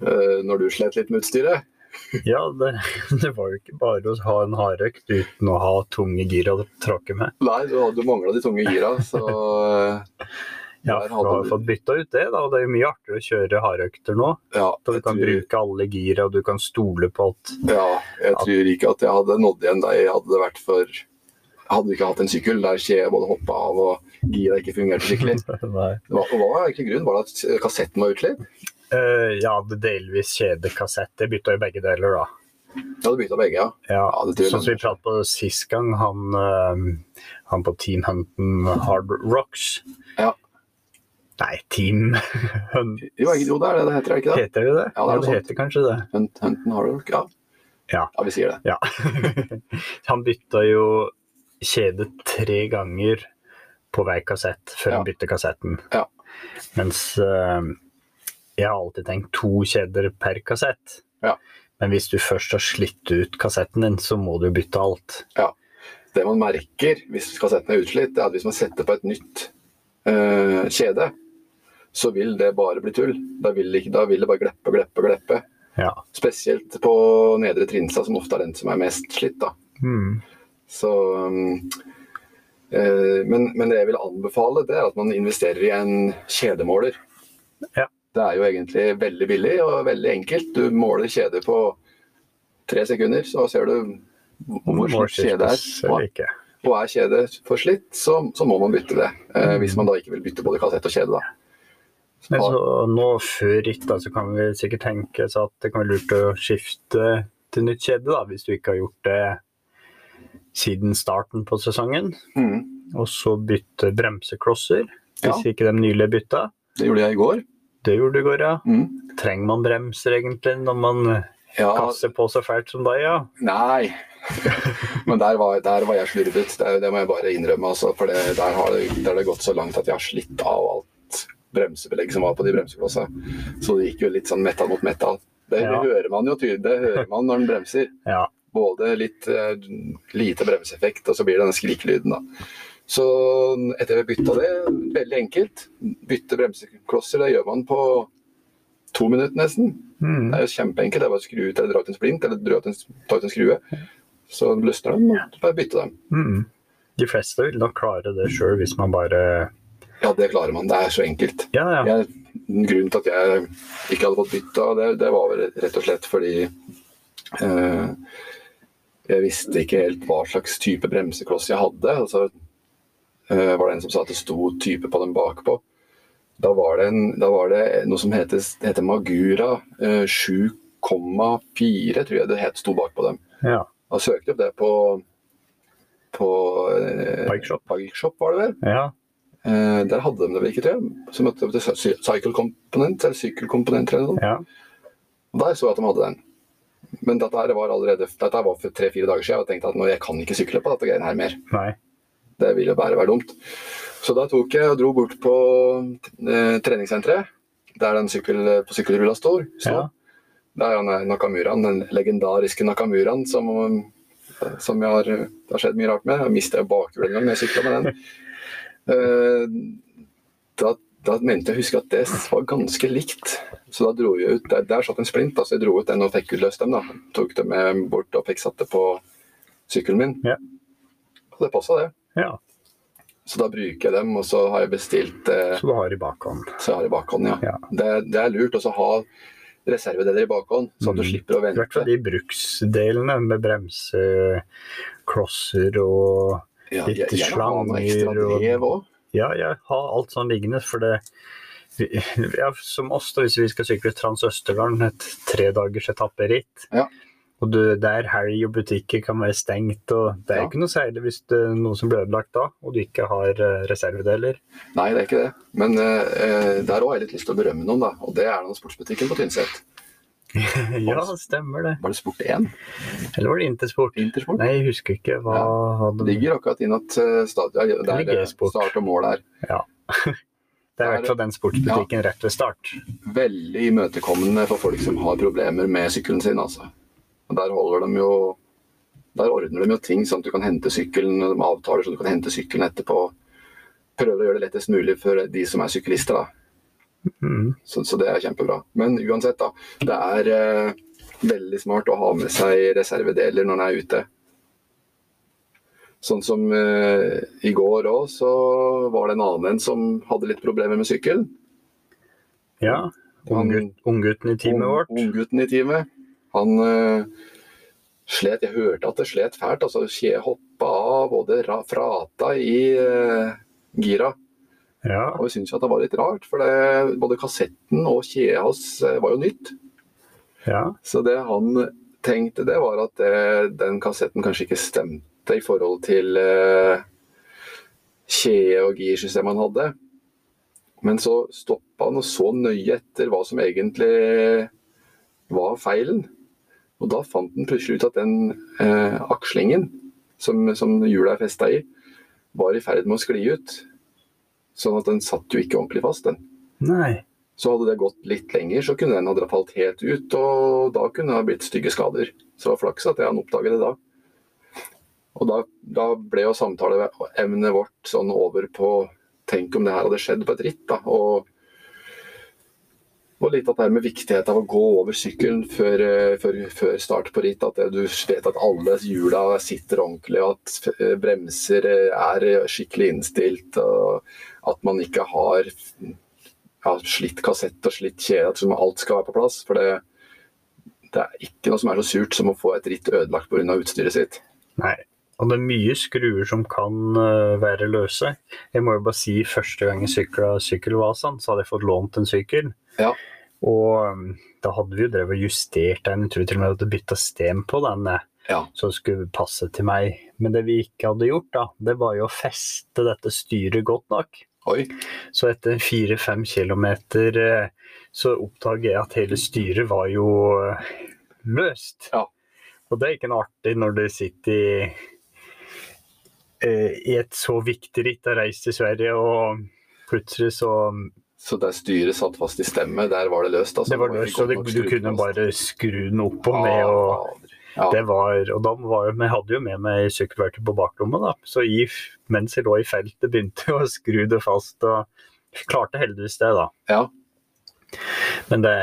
A: øh, når du slet litt med utstyret.
B: Ja, det, det var jo ikke bare å ha en hardøkt uten å ha tunge gir å tråkke med.
A: Nei, du, hadde- du mangla de tunge gira, så øh,
B: Ja,
A: Der
B: for
A: hadde
B: du har
A: du-
B: fått bytta ut det, da. og Det er jo mye artigere å kjøre hardøkter nå.
A: ja.
B: Da du
A: jeg
B: kan
A: tror-
B: bruke alle gira, og du kan stole på alt.
A: Ja, jeg tror ikke at jeg hadde nådd igjen deg hadde det vært for Hadde vi ikke hatt en sykkel der skje både hoppa av og gira ikke fungerte skikkelig.
B: Nei.
A: Hva hva var egentlig grunnen? Var det at kassetten var utslitt?
B: Eh, jeg hadde delvis kjedekassett. Jeg bytta jo begge deler, da.
A: Ja, du bytta begge, ja.
B: Ja,
A: Ja, det tror jeg
B: sånn som vi
A: lønner
B: pratet på sist gang, han, eh, han på Team Hunton Hard Rocks.
A: Ja.
B: Nei, Team Hunt
A: Jo, jeg- jo det er det det heter, er det ikke det?
B: Heter det det?
A: Ja, det er noe
B: det
A: sånt.
B: heter kanskje det.
A: Hunt, Hunton Hardrock, ja.
B: Ja.
A: Ja, vi sier det.
B: Ja. han bytta jo kjede tre ganger på hver kassett før
A: Ja.
B: han bytter kassetten.
A: Ja.
B: Mens eh, jeg har alltid tenkt to kjeder per kassett.
A: Ja.
B: Men hvis du først har slitt ut kassetten din, så må du bytte alt.
A: Det man merker hvis kassetten er utslitt, det er at hvis man setter på et nytt eh, kjede, så vil det bare bli tull. Da vil, det ikke, da vil det bare gleppe, gleppe, gleppe.
B: Ja.
A: Spesielt på nedre Trinsa, som ofte er den som er mest slitt, da.
B: Mm.
A: Så, um, eh, men, men det jeg vil anbefale, det er at man investerer i en kjedemåler.
B: Ja.
A: Det er jo egentlig veldig billig og veldig enkelt. Du måler kjede på tre sekunder, så ser du hvor slitt kjede er.
B: Eller
A: Og,
B: ikke.
A: og er kjedet for slitt, så, så må man bytte det. Eh, hvis man da ikke vil bytte både kassett og kjede, da.
B: Men Mm. så, nå før ritt, da, så kan vi sikkert tenke oss at det kan være lurt å skifte til nytt kjede, da, hvis du ikke har gjort det siden starten på sesongen.
A: Mm,
B: Og så bytte bremseklosser,
A: ja,
B: hvis ikke de nylig er bytta.
A: det gjorde jeg i går.
B: Det gjorde du i går, ja.
A: Mm.
B: Trenger man bremser egentlig når man
A: Ja,
B: gasser på så fælt som deg, ja?
A: Nei. Men der var, der var jeg slurvet. Det, det må jeg bare innrømme. Altså, for det, der, har det, der har det gått så langt at jeg har slitt av alt bremsebelegg som var på de bremseklossene. Så det gikk jo litt sånn metal mot metal. Det
B: Ja.
A: hører man jo tydelig. Det hører man når den bremser.
B: Ja.
A: Både litt eh, lite bremseeffekt, og så blir det denne skrikelyden, da. Så etter vi bytta det, veldig enkelt. Bytte bremseklosser, det gjør man på to minutter nesten.
B: Mm.
A: Det er jo kjempeenkelt. Det er bare å skru ut eller dra ut en splint eller dra ut en, ta ut en skrue. Så løsner de, og bare bytte dem.
B: Mm. De fleste vil nok klare det sjøl hvis man bare
A: Ja, det klarer man. Det er så enkelt.
B: Ja, ja.
A: Jeg, grunnen til at jeg ikke hadde fått bytta, det, det var vel rett og slett fordi eh, jeg visste ikke helt hva slags type bremsekloss jeg hadde. Og så eh, var det en som sa at det sto type på den bakpå. Da var det, en, da var det noe som heter, heter Magura eh, 7,4, tror jeg det het, sto bakpå dem.
B: ja.
A: Han søkte opp det på, på eh,
B: Bike Shop.
A: Bike Shop, var det vel.
B: ja.
A: Eh, der hadde de det, virket det. Så møtte de til Cy- Cycle Component, eller sykkelkomponent eller noe. sånt.
B: ja.
A: Og der så jeg at de hadde den. Men dette her var allerede dette her var for tre-fire dager siden, og jeg tenkte at nå, jeg kan ikke sykle på dette greiene her mer.
B: Nei.
A: Det vil jo bare være dumt. Så da tok jeg og dro bort på eh, treningssenteret, der den sykkel, på sykkelrulla står. står.
B: Ja.
A: Det er han eh, Nakamuraen, den legendariske Nakamuraen som, eh, som jeg har, det har skjedd mye rart med. Jeg mista bakhjulet en gang da jeg sykla med den. Eh, Da, da mente jeg å huske at det var ganske likt. Så da dro jeg ut, Der, der satt en splint, da, så jeg dro ut den og fikk utløst den. da. Tok den med bort og fikk satt det på sykkelen min.
B: Ja.
A: Og det passa, det.
B: ja.
A: Så da bruker jeg dem, og så har jeg bestilt eh,
B: Så du har i bakhånd.
A: så jeg har i bakhånd. ja.
B: Ja.
A: Det, det er lurt også å ha reservedeler i bakhånd, så at du
B: Mm.
A: slipper å
B: I hvert fall
A: vente.
B: de bruksdelene med bremseklosser og
A: Ja,
B: litt
A: jeg- gjerne ha noe
B: slanger
A: ekstra
B: og-
A: drev òg.
B: Ja, jeg har alt sånn liggende, for det ja, Som oss, da, hvis vi skal sykle Trans-Østerdalen, et tredagers etapperitt.
A: Ja.
B: Og du, der helg og butikker kan være stengt, og det er
A: Ja.
B: jo ikke noe særlig hvis det er noe som blir ødelagt da, og du ikke har eh, reservedeler.
A: Nei, det er ikke det. Men eh, eh, der òg har jeg litt lyst til å berømme noen, da. Og det er den sportsbutikken på Tynset.
B: ja, stemmer det.
A: Var det Sport 1?
B: Eller var det Intersport?
A: Intersport?
B: Nei, jeg husker ikke hva hva
A: Det
B: det
A: ligger akkurat innat eh, stadion ja, der
B: ligger
A: eh,
B: Sport.
A: start og mål er.
B: Det er i hvert fall den sportsbutikken rett ved start.
A: Veldig imøtekommende for folk som har problemer med sykkelen sin, altså. Og der holder de jo Der ordner de jo ting sånn at du kan hente sykkelen, de avtaler så du kan hente sykkelen etterpå. Prøver å gjøre det lettest mulig for de som er syklister. da.
B: Mm.
A: Så, så det er kjempebra. Men uansett, da. Det er eh, veldig smart å ha med seg reservedeler når en er ute. Sånn som eh, i går òg, så var det en annen en som hadde litt problemer med sykkel.
B: Ja. Unggutt- Unggutten i teamet
A: Ung-
B: vårt.
A: Unggutten i teamet. Han eh, slet Jeg hørte at det slet fælt. altså Skje hoppa av både ra frata i eh, gira.
B: Ja.
A: Og vi syntes jo at det var litt rart, for det, både kassetten og kjea hans eh, var jo nytt.
B: ja.
A: Så det han tenkte, det var at eh, den kassetten kanskje ikke stemte i forhold til eh, kjede- og girsystemet han hadde. Men så stoppa han og så nøye etter hva som egentlig var feilen. Og da fant han plutselig ut at den eh, akslingen som, som hjula er festa i, var i ferd med å skli ut. Sånn at den satt jo ikke ordentlig fast, den.
B: Nei.
A: Så hadde det gått litt lenger, så kunne den ha falt helt ut, og da kunne det ha blitt stygge skader. Så det var flaks at han oppdaget det da. Og da, da ble jo samtaleemnet vårt sånn over på Tenk om det her hadde skjedd på et ritt, da. Og, og litt at det her med viktighet av å gå over sykkelen før, eh, før, før start på ritt. At du vet at alle hjula sitter ordentlig, og at eh, bremser eh, er skikkelig innstilt. Og at man ikke har ja, slitt kassett og slitt kjede, at liksom alt skal være på plass. For det, det er ikke noe som er så surt som å få et ritt ødelagt pga. utstyret sitt.
B: Nei. Og det er mye skruer som kan eh, være løse. Jeg må jo bare si første gang jeg sykla sykkelvasaen, så hadde jeg fått lånt en sykkel.
A: Ja.
B: Og um, da hadde vi jo drevet og justert den. Jeg tror til og med at det bytta stem på den eh,
A: Ja.
B: som skulle passe til meg. Men det vi ikke hadde gjort, da, det var jo å feste dette styret godt nok.
A: Oi.
B: Så etter fire-fem kilometer eh, så oppdager jeg at hele styret var jo eh, løst.
A: Ja.
B: Og det er ikke noe artig når du sitter i, eh, i et så viktig ritt, har reist til Sverige, og plutselig så
A: Så der styret satt fast i stemmet, der var det løst? Altså.
B: Det var løst, og det,
A: ikke godt nok
B: du kunne
A: skrudd fast.
B: bare skru den opp og ned. og...
A: Ah, Ja,
B: Det var, og da var, jeg- men jeg hadde jo med meg sykkelverktøy på baklomma, da. Så i, mens jeg lå i feltet, begynte jeg å skru det fast. Og klarte heldigvis det, da.
A: Ja.
B: Men det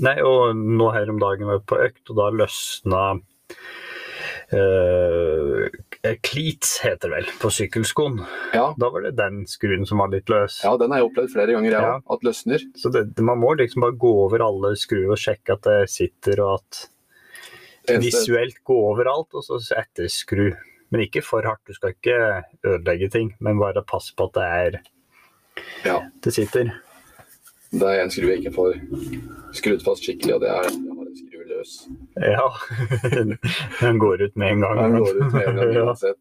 B: Nei, og nå her om dagen var jeg på økt, og da løsna eh, Cleats heter det vel, på sykkelskoen.
A: ja.
B: Da var det den skruen som var litt løs.
A: ja, den har jeg opplevd flere ganger, jeg
B: Ja.
A: òg. At løsner.
B: Så det, man må liksom bare gå over alle skruer og sjekke at det sitter, og at
A: Det eneste-
B: visuelt gå overalt, og så etterskru. Men ikke for hardt, du skal ikke ødelegge ting, men bare pass på at det er
A: Ja.
B: det sitter.
A: Det er en skru jeg ikke får skrudd fast skikkelig, og det er jeg har en skru løs.
B: Ja. Den går ut med en gang.
A: Den går ut med en gang
B: Ja.
A: uansett.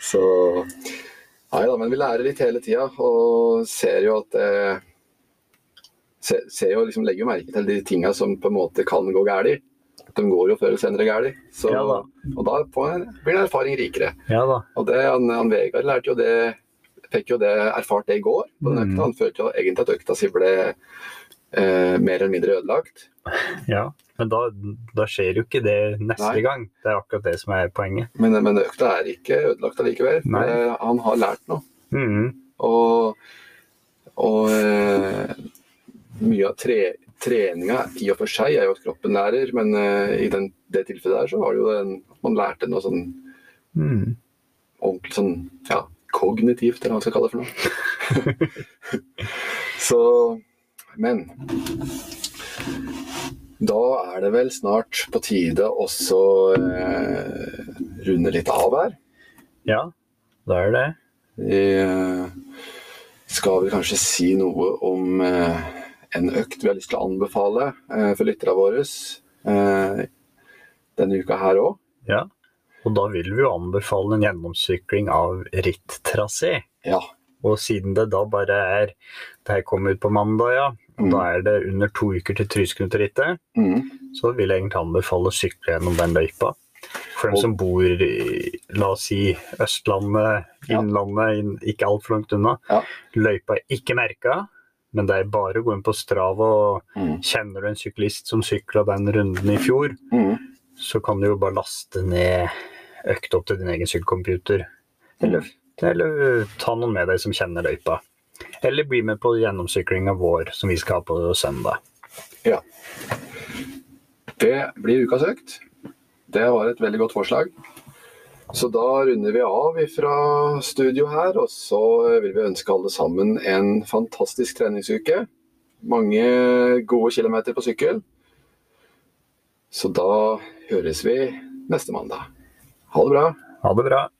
A: Så Nei da, men vi lærer litt hele tida og ser jo at eh, ser, ser jo liksom, Legger jo merke til de tinga som på en måte kan gå galt. De går jo før eller senere galt. Så-
B: Ja da.
A: Og da får en- blir en erfaring rikere.
B: Ja da.
A: Og det, han, han Vegard lærte jo det Fikk jo det erfart det i går. på den
B: Mm.
A: økta. Han følte jo egentlig at økta si ble eh, mer eller mindre ødelagt.
B: Ja. Men da, da skjer jo ikke det neste
A: Nei.
B: gang. Det er akkurat det som er poenget.
A: Men, men økta er ikke ødelagt allikevel. for
B: Nei.
A: det- Han har lært noe. Mm-hmm.
B: Mhm.
A: Og, og eh, mye av tre, treninga i og for seg er jo at kroppen lærer, men eh, i den, det tilfellet der så var det jo den, at man lærte noe sånn Mm-hmm.
B: Mhm.
A: ordentlig sånn ja, kognitivt, eller hva man skal kalle det for noe. så Men da er det vel snart på tide også eh, runde litt av her.
B: Ja, da er det.
A: Vi eh, skal vel kanskje si noe om eh, en økt vi har lyst til å anbefale eh, for lytterne våre eh, denne uka her òg.
B: Ja. Og da vil vi jo anbefale en gjennomsykling av ritttrasé.
A: Ja.
B: Og siden det da bare er Det her kommer ut på mandag, ja. Og
A: Mm.
B: Da er det under to uker til Trysknuterittet.
A: Mm.
B: Så vil jeg egentlig anbefale å sykle gjennom den løypa. For dem
A: Og-
B: som bor i la oss si Østlandet,
A: Ja.
B: Innlandet, inn, ikke altfor langt unna.
A: Ja.
B: Løypa er ikke merka, men det er bare å gå inn på Strava. og
A: Mm.
B: Kjenner du en syklist som sykla den runden i fjor,
A: Mm.
B: så kan du jo bare laste ned økta opp til din egen sykkelcomputer. Eller, eller ta noen med deg som kjenner løypa. Eller bli med på gjennomsyklinga vår som vi skal ha på søndag.
A: Ja. Det blir ukas økt. Det var et veldig godt forslag. Så da runder vi av fra studio her, og så vil vi ønske alle sammen en fantastisk treningsuke. Mange gode kilometer på sykkel. Så da høres vi neste mandag. Ha det bra.
B: Ha det bra.